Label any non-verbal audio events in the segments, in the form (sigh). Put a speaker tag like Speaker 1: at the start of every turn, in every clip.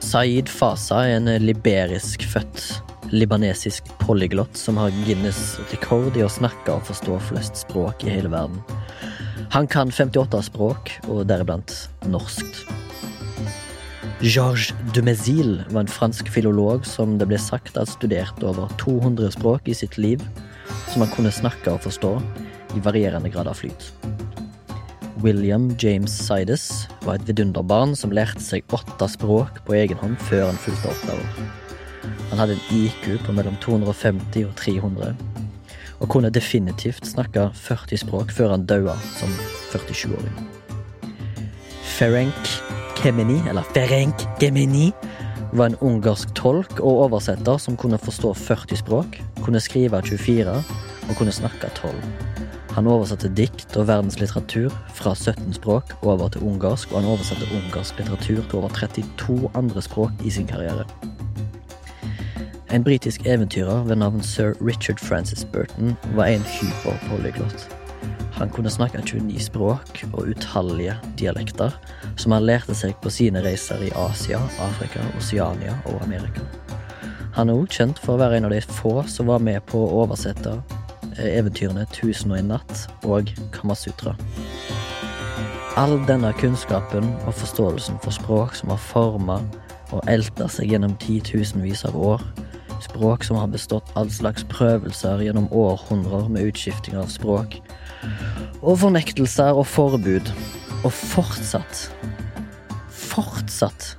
Speaker 1: Saeed Fasa er en liberisk født libanesisk polyglott som har Guinness rekord i å snakke og forstå flest språk i hele verden. Han kan 58 språk, og deriblant norskt. Georges Dumézil var en fransk filolog som det ble sagt at studerte over 200 språk i sitt liv, som han kunne snakke og forstå i varierende grad av flyt. William James Sides var et vidunderbarn som lærte seg åtte språk på egen hånd før han fylte åtte år. Han hadde en IQ på mellom 250 og 300, og kunne definitivt snakke 40 språk før han daua som 47-åring. Ferenc Kemini, eller Ferenc Gemini, var en ungarsk tolk og oversetter som kunne forstå 40 språk, kunne skrive 24 og kunne snakke 12. Han oversatte dikt og verdenslitteratur fra 17 språk over til ungarsk, og han oversatte ungarsk litteratur til over 32 andre språk i sin karriere. En britisk eventyrer ved navn sir Richard Francis Burton var en hyperpolyglott. Han kunne snakke 29 språk og utallige dialekter, som han lærte seg på sine reiser i Asia, Afrika, Oseania og Amerika. Han er òg kjent for å være en av de få som var med på å oversette eh, eventyrene 1001 natt og Kamasutra. All denne kunnskapen og forståelsen for språk som har forma og elta seg gjennom titusenvis av år, språk som har bestått all slags prøvelser gjennom århundrer med utskifting av språk, og fornektelser og forbud, og fortsatt fortsatt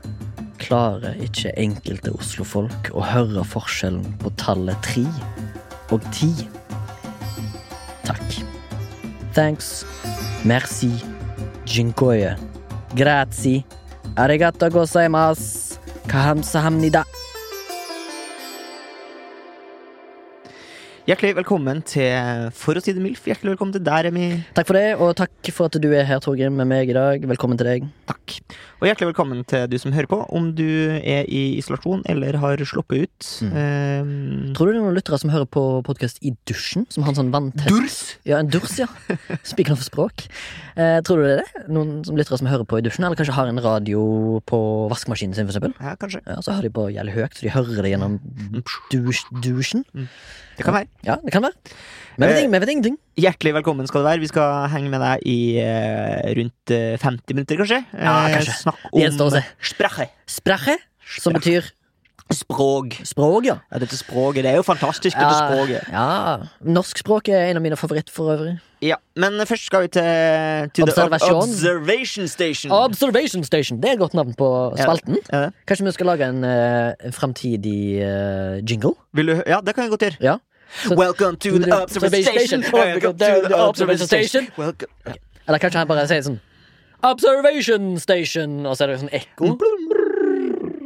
Speaker 1: klarer ikke enkelte oslofolk å høre forskjellen på tallet tre og ti. Takk. Thanks. Merci. Jinkoye. Grazie. Arigato gozaimasu. Kahamsahamnida.
Speaker 2: Hjertelig velkommen til For å si det mildt. Hjertelig velkommen til deg, Remi.
Speaker 1: Takk for det, og takk for at du er her, Torgrim, med meg i dag. Velkommen til deg.
Speaker 2: Takk. Og hjertelig velkommen til du som hører på, om du er i isolasjon eller har sluppet ut. Eh,
Speaker 1: Tror du det er noen lyttere som hører på podkast i dusjen? Som har en sånn vanntett
Speaker 2: durs!
Speaker 1: Ja, en durs, ja. Spikeren for språk. Eh, tror du det er det? Noen som lyttere som hører på i dusjen, eller kanskje har en radio på vaskemaskinen sin, for eksempel?
Speaker 2: Ja, kanskje.
Speaker 1: Ja, så har de på jævlig høyt, så de hører det gjennom dusj, dusjen.
Speaker 2: Det kan være.
Speaker 1: Ja, det kan være. Vi vet,
Speaker 2: Eh,
Speaker 1: ing- vi vet ingenting.
Speaker 2: Hjertelig velkommen skal du være. Vi skal henge med deg i eh, rundt eh, 50 minutter, kanskje.
Speaker 1: Ja,
Speaker 2: Eh,
Speaker 1: kanskje.
Speaker 2: Snakk
Speaker 1: Det gjenstår å
Speaker 2: om
Speaker 1: se.
Speaker 2: sprache.
Speaker 1: Sprache, som betyr
Speaker 2: Språk.
Speaker 1: språk, ja.
Speaker 2: Ja, dette språket. Det er jo fantastisk, dette språket.
Speaker 1: ja. Norskspråk er en av mine favoritter for øvrig.
Speaker 2: Ja, Men først skal vi til to the
Speaker 1: Observasjon.
Speaker 2: Observation Station.
Speaker 1: Observation Station, det er et godt navn på spalten.
Speaker 2: Ja, det.
Speaker 1: Kanskje vi skal lage en uh, framtidig eh, jingle?
Speaker 2: Vil du, hø- ja, det kan vi godt gjøre.
Speaker 1: Ja. Så-
Speaker 2: Welcome to the observation station. Welcome to the observation station. Welcome.
Speaker 1: Eller kanskje han bare sier sånn Observation Station, og så er det sånn ekko.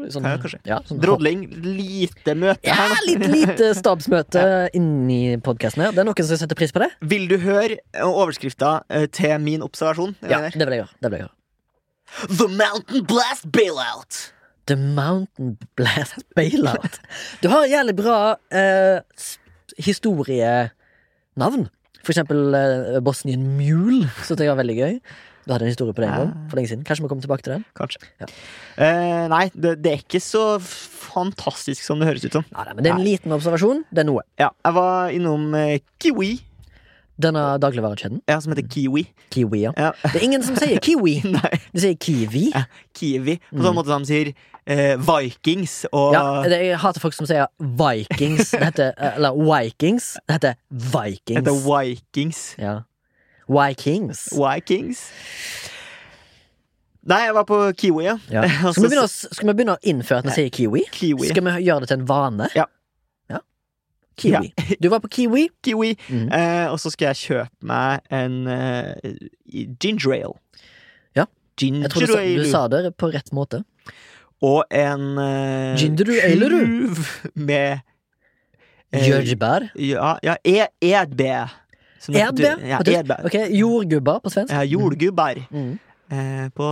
Speaker 1: Sånn,
Speaker 2: Ja, kanskje.
Speaker 1: ja, sånn,
Speaker 2: Drodling, lite møte
Speaker 1: ja,
Speaker 2: her nå.
Speaker 1: litt lite stabsmøte (laughs) inni podkasten her. Det er noen som setter pris på det.
Speaker 2: Vil du høre eh, overskrifta eh, til min observasjon? Eh,
Speaker 1: Ja, det vil jeg gjøre. Det vil jeg gjøre.
Speaker 2: The Mountain Blast Bailout.
Speaker 1: The Mountain Blast Bailout. Du har jævlig bra eh, s- historienavn. For eksempel eh, Bosnian Mule, som jeg var veldig gøy. Du hadde en historie på det en gang for lenge siden. Kanskje vi kommer tilbake til den?
Speaker 2: Kanskje.
Speaker 1: Ja.
Speaker 2: Eh, nei, det, det er ikke så fantastisk som det høres ut som.
Speaker 1: Ja, nei, men Det er en liten observasjon. Det er noe.
Speaker 2: Ja, jeg var innom eh, Kiwi,
Speaker 1: Denne dagligvarekjeden.
Speaker 2: ja, som heter Kiwi.
Speaker 1: Kiwi, ja.
Speaker 2: Ja. (laughs)
Speaker 1: Det er ingen som sier kiwi.
Speaker 2: Nei,
Speaker 1: De sier kiwi.
Speaker 2: Kiwi. På sånn måte som de sier eh, Vikings og
Speaker 1: Mm. Ja, det, jeg hater folk som sier vikings. Det heter, eh, eller vikings. Det heter vikings.
Speaker 2: heter Vikings.
Speaker 1: ja. Vikings.
Speaker 2: Vikings. Nei, jeg var på Kiwi, ja.
Speaker 1: Ja.
Speaker 2: (laughs) Og
Speaker 1: Skal, vi
Speaker 2: så-
Speaker 1: begynne å, skal vi begynne å innføre at vi sier kiwi?
Speaker 2: Kiwi.
Speaker 1: Skal vi gjøre det til en vane?
Speaker 2: Ja. (laughs)
Speaker 1: Ja. Kiwi. Du var på Kiwi.
Speaker 2: Kiwi.
Speaker 1: Mhm.
Speaker 2: Eh, og så skal jeg kjøpe meg en eh, ginger ale.
Speaker 1: Ja. Jeg tror du, sa-
Speaker 2: Ginger
Speaker 1: du
Speaker 2: ale.
Speaker 1: sa det på rett måte.
Speaker 2: Og en eh,
Speaker 1: Ginger ale, du.
Speaker 2: tjuv med eh,
Speaker 1: Jordbær.
Speaker 2: Ja, ja e, edbær. Som det-
Speaker 1: Edbær?
Speaker 2: du- Ja,
Speaker 1: Og det-
Speaker 2: edbær.
Speaker 1: Ok, Jordgubber på svensk.
Speaker 2: Ja, jordgubbar
Speaker 1: Mm.
Speaker 2: eh, på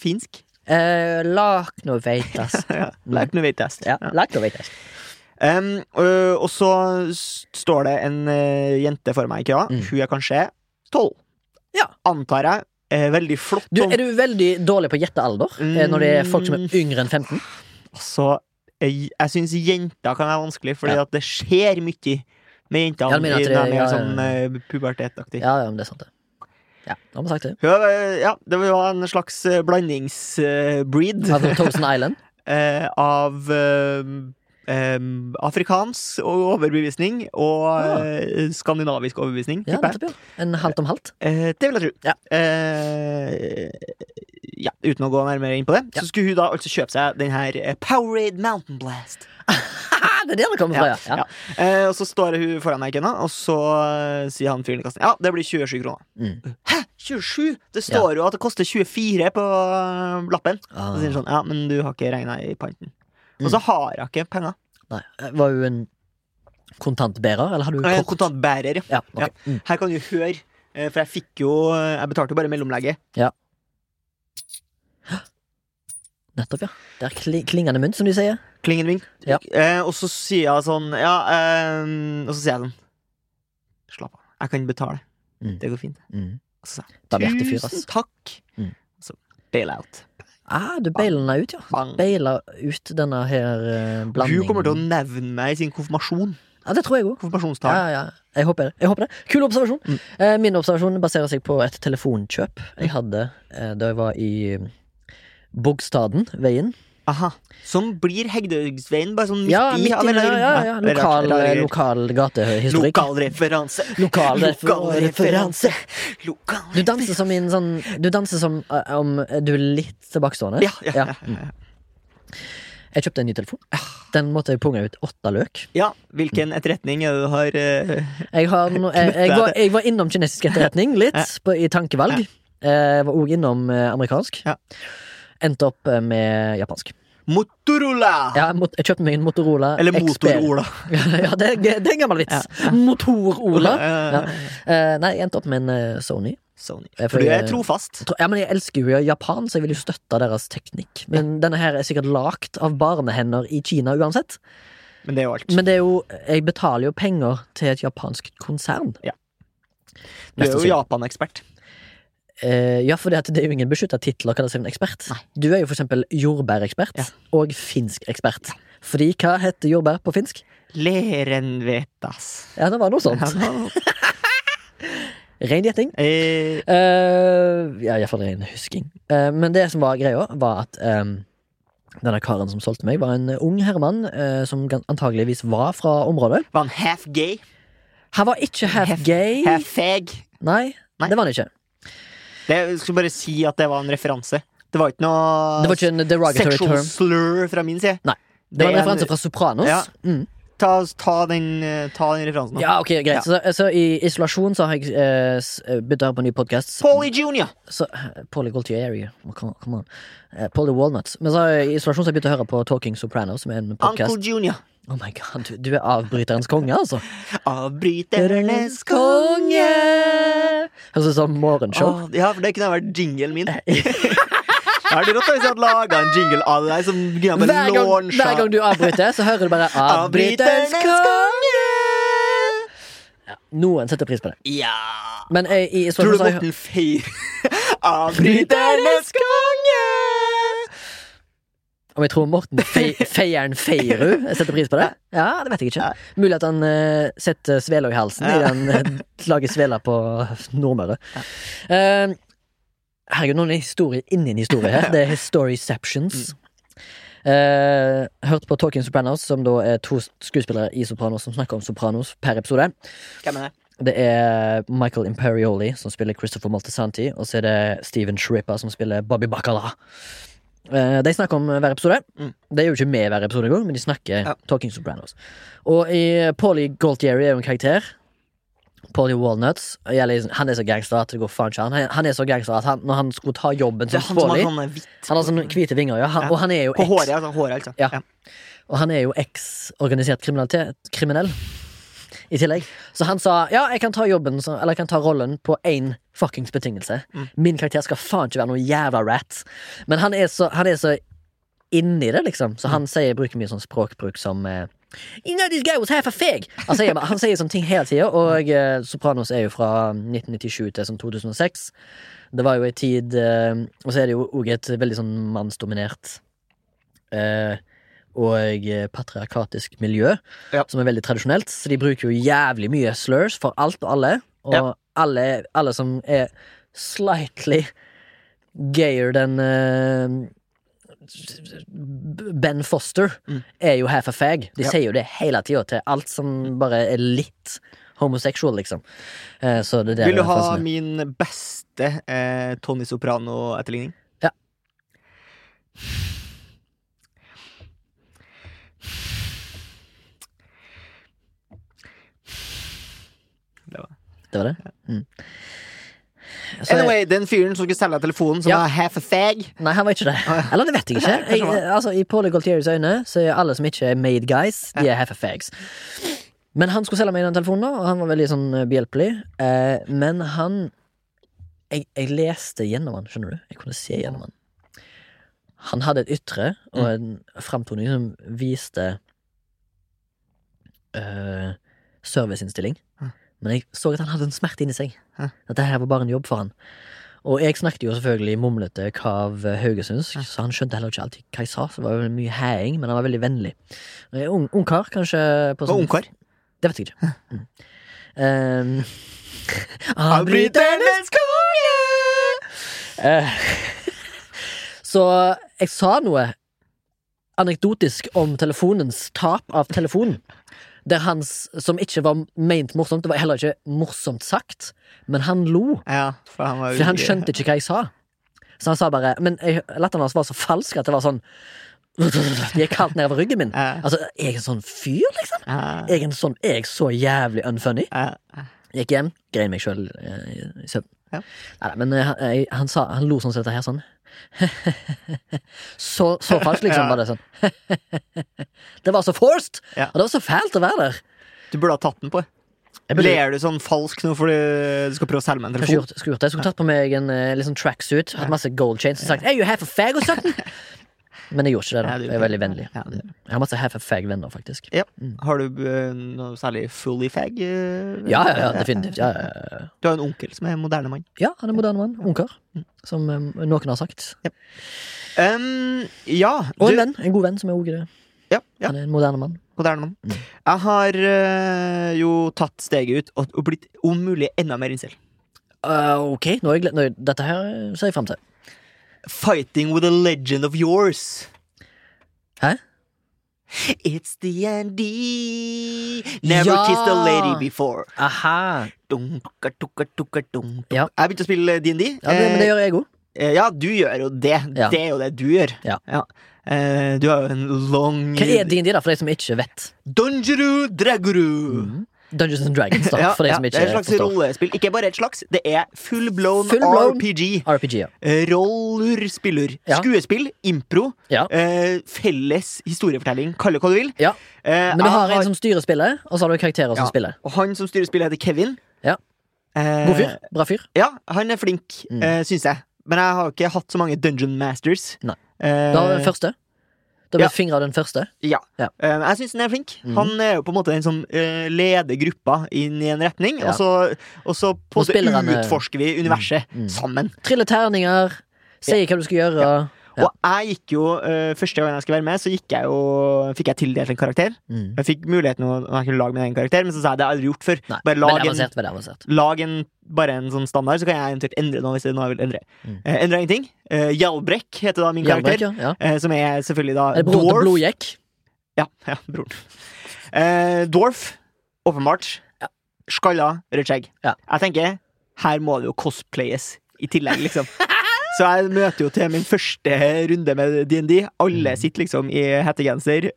Speaker 2: finsk.
Speaker 1: Eh, Laknoveitas.
Speaker 2: (laughs) Ja, Lært noe vitest.
Speaker 1: Mhm. Ja, laknoveitas.
Speaker 2: Em, ø, og så s- står det en ø, jente for meg i køa.
Speaker 1: Mm.
Speaker 2: Hun er kanskje tolv.
Speaker 1: Ja.
Speaker 2: Antar jeg. Eh, veldig flott.
Speaker 1: Du,
Speaker 2: og-
Speaker 1: er du veldig dårlig på å gjette alder eh, når det er folk som
Speaker 2: Mm.
Speaker 1: er yngre enn 15?
Speaker 2: Altså, jeg, jeg syns jenter kan være vanskelig, fordi
Speaker 1: Ja.
Speaker 2: at det skjer mye med jentene.
Speaker 1: Ja, du mener at
Speaker 2: i-
Speaker 1: det-
Speaker 2: når de er
Speaker 1: ja, ja,
Speaker 2: sånn eh, pubertetaktig.
Speaker 1: Ja, ja, men det er sant, det. Ja, da har vi sagt det.
Speaker 2: Hun, eh, ja, det var en slags blandingsbreed (laughs)
Speaker 1: Altså, Thousand Island.
Speaker 2: av eh, em, afrikansk overbevisning og
Speaker 1: Ja.
Speaker 2: eh, skandinavisk overbevisning,
Speaker 1: Ja,
Speaker 2: tipper jeg.
Speaker 1: nettopp, ja. En halvt om halvt. (laughs)
Speaker 2: Eh, det vil jeg tro.
Speaker 1: Ja.
Speaker 2: Eh, ja, uten å gå nærmere inn på det,
Speaker 1: Ja.
Speaker 2: så skulle hun da altså kjøpe seg den her eh, Powerade Mountain Blast.
Speaker 1: Ah, det er der det kommer fra, ja. ja.
Speaker 2: Eh, og så står hun foran meg, Kenna, og så eh, sier han fyren i kassen ja, det blir 27 kroner.
Speaker 1: Mm.
Speaker 2: Hæ, 27? Det står jo at det koster 24 på eh, lappen.
Speaker 1: Ah. Mm.
Speaker 2: Så sier han sånn, ja, men du har ikke regna i panten. Og så har hun ikke penger.
Speaker 1: Nei. eh, Var hun en kontantbærer, eller hadde hun
Speaker 2: Eh,
Speaker 1: kort?
Speaker 2: Kontantbærer, ja.
Speaker 1: Ja, ok.
Speaker 2: Ja.
Speaker 1: Mm.
Speaker 2: Her kan du høre, eh, for jeg fikk jo eh, Jeg betalte jo bare mellomlegget.
Speaker 1: Nettopp, ja. Det er kli klingende mynt, som de sier.
Speaker 2: Klingen min.
Speaker 1: Ja.
Speaker 2: Eh, og så sier jeg sånn Ja, eh, og så sier jeg sånn Slapp av. Jeg kan betale.
Speaker 1: Mm.
Speaker 2: Det går fint.
Speaker 1: Mm.
Speaker 2: Så sa jeg,
Speaker 1: Barberte fyr,
Speaker 2: Altså, Tusen
Speaker 1: ass.
Speaker 2: takk.
Speaker 1: Mm.
Speaker 2: Så bail out.
Speaker 1: Ah, du beiler den ut, ja.
Speaker 2: Bang.
Speaker 1: Beiler ut denne her eh, blandingen.
Speaker 2: Hun kommer til å nevne meg i sin konfirmasjon.
Speaker 1: Ja, det tror jeg òg. Ja,
Speaker 2: Konfirmasjonstale.
Speaker 1: ja, ja. Jeg håper det. Jeg håper det. Kul observasjon.
Speaker 2: Mm.
Speaker 1: Eh, min observasjon baserer seg på et telefonkjøp jeg hadde eh, da jeg var i Bogstaden, veien.
Speaker 2: Aha. Som blir Hegdehaugsveien, bare sånn midt
Speaker 1: Ja,
Speaker 2: i.
Speaker 1: midt
Speaker 2: av en
Speaker 1: inne.
Speaker 2: eller-
Speaker 1: Ja, ja, ja.
Speaker 2: Nei,
Speaker 1: Lokal,
Speaker 2: rar- rar-
Speaker 1: lokal gatehistorikk.
Speaker 2: Lokal referanse.
Speaker 1: Lokal refer- referanse.
Speaker 2: Lokal
Speaker 1: Du danser som i en sånn Du danser som eh, om du er litt tilbakestående.
Speaker 2: Ja, ja, ja.
Speaker 1: Mm. Jeg kjøpte en ny telefon. Den måtte jeg punge ut åtte løk.
Speaker 2: ja. Hvilken
Speaker 1: Mm.
Speaker 2: etterretning er det du har? eh,
Speaker 1: Jeg,
Speaker 2: (laughs)
Speaker 1: har no, jeg, jeg, var, jeg var innom kinesisk etterretning litt på, i tankevalg. Jeg var òg innom eh, amerikansk.
Speaker 2: Ja.
Speaker 1: Endte opp eh, med japansk.
Speaker 2: Motorola!
Speaker 1: Ja, mot- jeg kjøpte meg en Motorola
Speaker 2: Eller
Speaker 1: XBR.
Speaker 2: Motor-Ola.
Speaker 1: (laughs) ja, det, det er en gammel vits. Motor-Ola.
Speaker 2: (laughs) Ja.
Speaker 1: Eh, nei, jeg endte opp med en eh, Sony.
Speaker 2: Sony.
Speaker 1: Eh, for
Speaker 2: For du
Speaker 1: jeg-
Speaker 2: er trofast.
Speaker 1: Jeg tror- Ja, men Jeg elsker jo Japan, så jeg vil jo støtte deres teknikk. Men denne her er sikkert lagd av barnehender i Kina uansett.
Speaker 2: Men det er jo alt.
Speaker 1: Men det er jo, jeg betaler jo penger til et japansk konsern.
Speaker 2: Ja. Du
Speaker 1: Neste
Speaker 2: er jo
Speaker 1: side.
Speaker 2: Japan-ekspert.
Speaker 1: Eh, ja, for det, at det er jo ingen beskytta titler, kan jeg si, om en ekspert. Du er jo for eksempel jordbærekspert
Speaker 2: Ja.
Speaker 1: og finskekspert. Fordi hva heter jordbær på finsk?
Speaker 2: Lerenvetas.
Speaker 1: Ja, det var noe sånt. Ren gjetting.
Speaker 2: (laughs) Eh,
Speaker 1: Eh, ja, iallfall ren husking. Eh, men det som var greia, var at eh, denne karen som solgte meg, var en ung herremann eh, som gan- antageligvis var fra området.
Speaker 2: var han half gay?
Speaker 1: Han var ikke half
Speaker 2: Hef-
Speaker 1: gay.
Speaker 2: Half fag?
Speaker 1: Nei,
Speaker 2: Nei.
Speaker 1: det var han ikke.
Speaker 2: Det, jeg skulle bare si at det var en referanse. Det var ikke noe
Speaker 1: Det var ikke en derogatory
Speaker 2: sexual
Speaker 1: term.
Speaker 2: slur fra min side.
Speaker 1: Nei. Det var en
Speaker 2: er
Speaker 1: referanse fra Sopranos.
Speaker 2: Ja.
Speaker 1: Mm.
Speaker 2: ta, ta, den, eh, ta den referansen. nå.
Speaker 1: Ja, ok, greit
Speaker 2: Ja.
Speaker 1: så, så i isolasjon så har jeg eh, s- eh, begynt å høre på en ny podcast
Speaker 2: Paulie Junior!
Speaker 1: så, eh, Paulie Gualtieri oh, Come on, come on. Eh, Paulie Walnuts Men så har jeg, i isolasjon så har jeg begynt å høre på Talking Soprano Som er en podcast
Speaker 2: Uncle Junior.
Speaker 1: Oh my god, du, du er avbryterens konge altså
Speaker 2: Avbryternes konge.
Speaker 1: Høres ut som sånn, morgenshow
Speaker 2: Åh, ja, for det kunne vært
Speaker 1: (laughs)
Speaker 2: jinglen min. Det er rått hvis jeg hadde laga en jingle av deg som kunne
Speaker 1: hver,
Speaker 2: bare
Speaker 1: gang,
Speaker 2: launcha
Speaker 1: hver gang du avbryter så hører du bare Avbryterens
Speaker 2: (laughs) Avbryternes
Speaker 1: konge
Speaker 2: konge!
Speaker 1: Noen setter pris på det
Speaker 2: Ja
Speaker 1: Men eh, i isolasjon
Speaker 2: Tror du
Speaker 1: så har jeg
Speaker 2: Morten feirer
Speaker 1: (laughs)
Speaker 2: Avbryternes konge?
Speaker 1: Om jeg tror Morten Fe (laughs) Feieren Feirud setter pris på det? Ja, det vet jeg ikke. Mulig at han eh, setter svela i halsen i
Speaker 2: Ja.
Speaker 1: den eh, lager svela på Nordmøre. Eh, herregud, nå er det en historie inni en historie (laughs) her. Det er Storyceptions. Eh, hørte på Talking Sopranos, som da er to skuespillere i Sopranos som snakker om Sopranos per episode.
Speaker 2: Hvem er det?
Speaker 1: Det er Michael Imperioli som spiller Christopher Moltisanti, og så er det Steven Shripper som spiller Bobby Bacala. Eh, De snakker om hver episode.
Speaker 2: Mm.
Speaker 1: De er jo ikke med i hver episode engang, men de snakker
Speaker 2: Ja.
Speaker 1: Talking Sopranos. Og i Paulie Galtieri er jo en karakter. Paulie Walnuts. Jeg er liksom- Han er så gangster at det går faen ikke an. Han- Han er så gangster at han, når han skulle ta jobben som
Speaker 2: Det er han som har
Speaker 1: Paulie
Speaker 2: sånn hvitt
Speaker 1: Han har sånne hvite vinger, ja. Han,
Speaker 2: Ja.
Speaker 1: Og han er jo
Speaker 2: På
Speaker 1: eks
Speaker 2: håret, altså. Håret, altså.
Speaker 1: Ja. Og han er jo eks-organisert kriminalitet kriminell i tillegg. Så han sa ja, jeg kan ta jobben så, Eller jeg kan ta rollen på én fuckings betingelse.
Speaker 2: Mm.
Speaker 1: Min karakter skal faen ikke være noen jævla rat. Men han er så, han er så inni det, liksom. Så han sier, bruker mye sånn språkbruk som eh, You know these guys was half a fig Han sier, han sier sånne ting hele tida, og eh, Sopranos er jo fra 1997 til sånn 2006. Det var jo ei tid eh, Og så er det jo òg et veldig sånn mannsdominert eh, og eh, patriarkatisk miljø,
Speaker 2: Ja.
Speaker 1: som er veldig tradisjonelt. Så de bruker jo jævlig mye slurs for alt og alle. Og
Speaker 2: Ja.
Speaker 1: alle, alle som er slightly gayer than eh, B- Ben Foster,
Speaker 2: Mm.
Speaker 1: er jo half a fag. De
Speaker 2: Ja.
Speaker 1: sier jo det hele tida til alt som bare er litt homosexual, liksom. Eh, så det der
Speaker 2: Vil du
Speaker 1: er
Speaker 2: ha
Speaker 1: fascinerende.
Speaker 2: min beste eh, Tony Soprano-etterligning?
Speaker 1: Ja.
Speaker 2: Det var det.
Speaker 1: Det var det? Mm. Så jeg-
Speaker 2: Anyway, den fyren som skulle selge telefonen, som
Speaker 1: Ja.
Speaker 2: var half a fag
Speaker 1: Nei, han var ikke det.
Speaker 2: Å, ja.
Speaker 1: Eller det vet jeg ikke.
Speaker 2: Nei, (laughs) kanskje
Speaker 1: Jeg,
Speaker 2: han var.
Speaker 1: altså, I Paul Galtieris øyne så er alle som ikke er made guys, de er half a fags. Men han skulle selge meg den telefonen, da, og han var veldig sånn eh, behjelpelig. Eh, men han jeg, jeg leste gjennom han, skjønner du. Jeg kunne se gjennom han. Han hadde et ytre og
Speaker 2: Mm.
Speaker 1: en framtoning som viste eh, serviceinnstilling.
Speaker 2: Hæ.
Speaker 1: Men jeg så at han hadde en smerte inni seg.
Speaker 2: Hæ.
Speaker 1: At det her var bare en jobb for han. Og jeg snakket jo selvfølgelig mumlete kav eh, haugesundsk, så han skjønte heller ikke alltid hva jeg sa. Så det var jo mye heiing, men han var veldig vennlig. Eh, Ung, ungkar, kanskje. På
Speaker 2: Det var
Speaker 1: sånn,
Speaker 2: ungkar.
Speaker 1: det vet jeg ikke. (laughs) Mm. Um,
Speaker 2: Avbryternes konge!
Speaker 1: Eh, (laughs) Så jeg sa noe anekdotisk om telefonens tap av telefonen. Der hans, som ikke var meint morsomt, det var heller ikke morsomt sagt, men han lo.
Speaker 2: Ja, for han var jo
Speaker 1: For han skjønte ikke hva jeg sa. Så han sa bare Men jeg- latteren hans var så falsk at det var sånn Det gikk kaldt nedover ryggen min.
Speaker 2: Ja,
Speaker 1: Altså, jeg er en sånn fyr, liksom.
Speaker 2: ja,
Speaker 1: Jeg er en sånn Jeg er så jævlig unfunny.
Speaker 2: ja.
Speaker 1: Gikk hjem, grein meg sjøl eh, i i søvn.
Speaker 2: Ja.
Speaker 1: Neida, men eh, han, eh, han, sa, han lo sånn som dette her, sånn. (laughs) så, så falskt, liksom.
Speaker 2: (laughs) Ja.
Speaker 1: Var det, sånn. (laughs) det var så forced!
Speaker 2: Ja.
Speaker 1: Og det var så fælt å være der.
Speaker 2: Du burde ha tatt den på.
Speaker 1: Jeg burde,
Speaker 2: Ler du sånn falsk nå fordi du skal prøve å selge meg en
Speaker 1: kanskje
Speaker 2: telefon?
Speaker 1: gjort, skulle gjort det. Jeg skulle tatt på meg en eh, litt sånn tracksuit, hatt masse gold chains og sagt hey, you have a fag og
Speaker 2: (laughs)
Speaker 1: sånn. Men jeg gjorde ikke det.
Speaker 2: Ja,
Speaker 1: da
Speaker 2: du-
Speaker 1: Jeg er veldig vennlig.
Speaker 2: Ja, du-
Speaker 1: Jeg har masse half a fag-venner, faktisk.
Speaker 2: Ja. Har du eh, noe særlig fully fag? eh?
Speaker 1: Ja, ja, ja, definitivt. Ja, ja, ja.
Speaker 2: Du har en onkel som er moderne mann.
Speaker 1: ja han er en moderne mann. Ungkar. Som eh, noen har sagt.
Speaker 2: Um, ja,
Speaker 1: Og
Speaker 2: du-
Speaker 1: en venn. En god venn som er ogre.
Speaker 2: ja, ja,
Speaker 1: Han er en moderne mann.
Speaker 2: moderne mann.
Speaker 1: Mm.
Speaker 2: Jeg har eh, jo tatt steget ut og, og blitt om mulig enda mer incel.
Speaker 1: Eh, ok, nå er jeg gled... nå, er- dette her ser jeg frem til.
Speaker 2: Fighting with a legend of yours.
Speaker 1: Hæ?
Speaker 2: It's the Andy. Never
Speaker 1: Ja!
Speaker 2: kissed a lady before.
Speaker 1: Aha.
Speaker 2: Dunka, dunka, dunka, dunka.
Speaker 1: Ja.
Speaker 2: Jeg begynte å spille D&D.
Speaker 1: Ja, det, men det gjør jeg òg.
Speaker 2: Eh, ja, du gjør jo det.
Speaker 1: Ja.
Speaker 2: Det er jo det du gjør.
Speaker 1: Ja.
Speaker 2: Eh, du har jo en lang
Speaker 1: Hva er DND, da, for de som ikke vet?
Speaker 2: Dungeru Draguru.
Speaker 1: Dungeons and Dragons, da,
Speaker 2: Ja,
Speaker 1: Mm, for de
Speaker 2: ja,
Speaker 1: som
Speaker 2: det
Speaker 1: ikke
Speaker 2: er et slags
Speaker 1: forstår.
Speaker 2: rollespill. Ikke bare et slags, det er full blown,
Speaker 1: Full blown.
Speaker 2: RPG.
Speaker 1: RPG, ja.
Speaker 2: Eh, Roller, spiller.
Speaker 1: Ja.
Speaker 2: Skuespill, impro,
Speaker 1: Ja.
Speaker 2: eh, felles historiefortelling. Kall det hva du vil.
Speaker 1: ja.
Speaker 2: Eh,
Speaker 1: Men du
Speaker 2: jeg
Speaker 1: har en som styrer spillet, og så har du karakterer som
Speaker 2: Ja.
Speaker 1: spiller.
Speaker 2: Og han som styrer spillet, heter Kevin.
Speaker 1: Ja.
Speaker 2: Eh,
Speaker 1: God fyr. Bra fyr.
Speaker 2: Ja, han er flink,
Speaker 1: Mm.
Speaker 2: eh, syns jeg. Men jeg har ikke hatt så mange Dungeon Masters.
Speaker 1: Nei.
Speaker 2: Eh,
Speaker 1: Da har vi den første. Da blir
Speaker 2: ja.
Speaker 1: fingra den første.
Speaker 2: Ja.
Speaker 1: Ja.
Speaker 2: Eh, jeg syns han er flink.
Speaker 1: Mhm.
Speaker 2: Han er jo på en måte den som eh, leder gruppa inn i en retning,
Speaker 1: Ja.
Speaker 2: og så, og så på
Speaker 1: Og
Speaker 2: en
Speaker 1: spillerne-
Speaker 2: måte utforsker vi universet
Speaker 1: Mm. Mm.
Speaker 2: sammen.
Speaker 1: Trille terninger, si hva du skal gjøre. Ja.
Speaker 2: Og jeg gikk jo, eh, første gang jeg skulle være med, så gikk jeg jo, fikk jeg tildelt en karakter.
Speaker 1: Mm.
Speaker 2: Jeg fikk muligheten å å kunne lage min egen karakter, men så sa jeg det har jeg aldri gjort før.
Speaker 1: Nei,
Speaker 2: Bare
Speaker 1: veldig
Speaker 2: lag en
Speaker 1: avansert. Veldig avansert.
Speaker 2: Lag en, bare en sånn standard, så kan jeg eventuelt endre noe. hvis det er noe jeg vil endre
Speaker 1: Mm.
Speaker 2: eh, Endre ingenting. Eh, Hjalbrek heter da min
Speaker 1: Hjalmar,
Speaker 2: karakter.
Speaker 1: ja. ja.
Speaker 2: Eh, som er selvfølgelig da
Speaker 1: Er det broren til
Speaker 2: dwarf.
Speaker 1: Blodjekk?
Speaker 2: Ja, (laughs) ja, broren. Eh, dwarf, åpenbart.
Speaker 1: Ja.
Speaker 2: Skalla, rødt skjegg.
Speaker 1: Ja.
Speaker 2: Jeg tenker her må det jo cosplayes i tillegg, liksom. (laughs) Så jeg møter jo til min første runde med DND.
Speaker 1: Mm.
Speaker 2: Alle sitter liksom i hettegenser.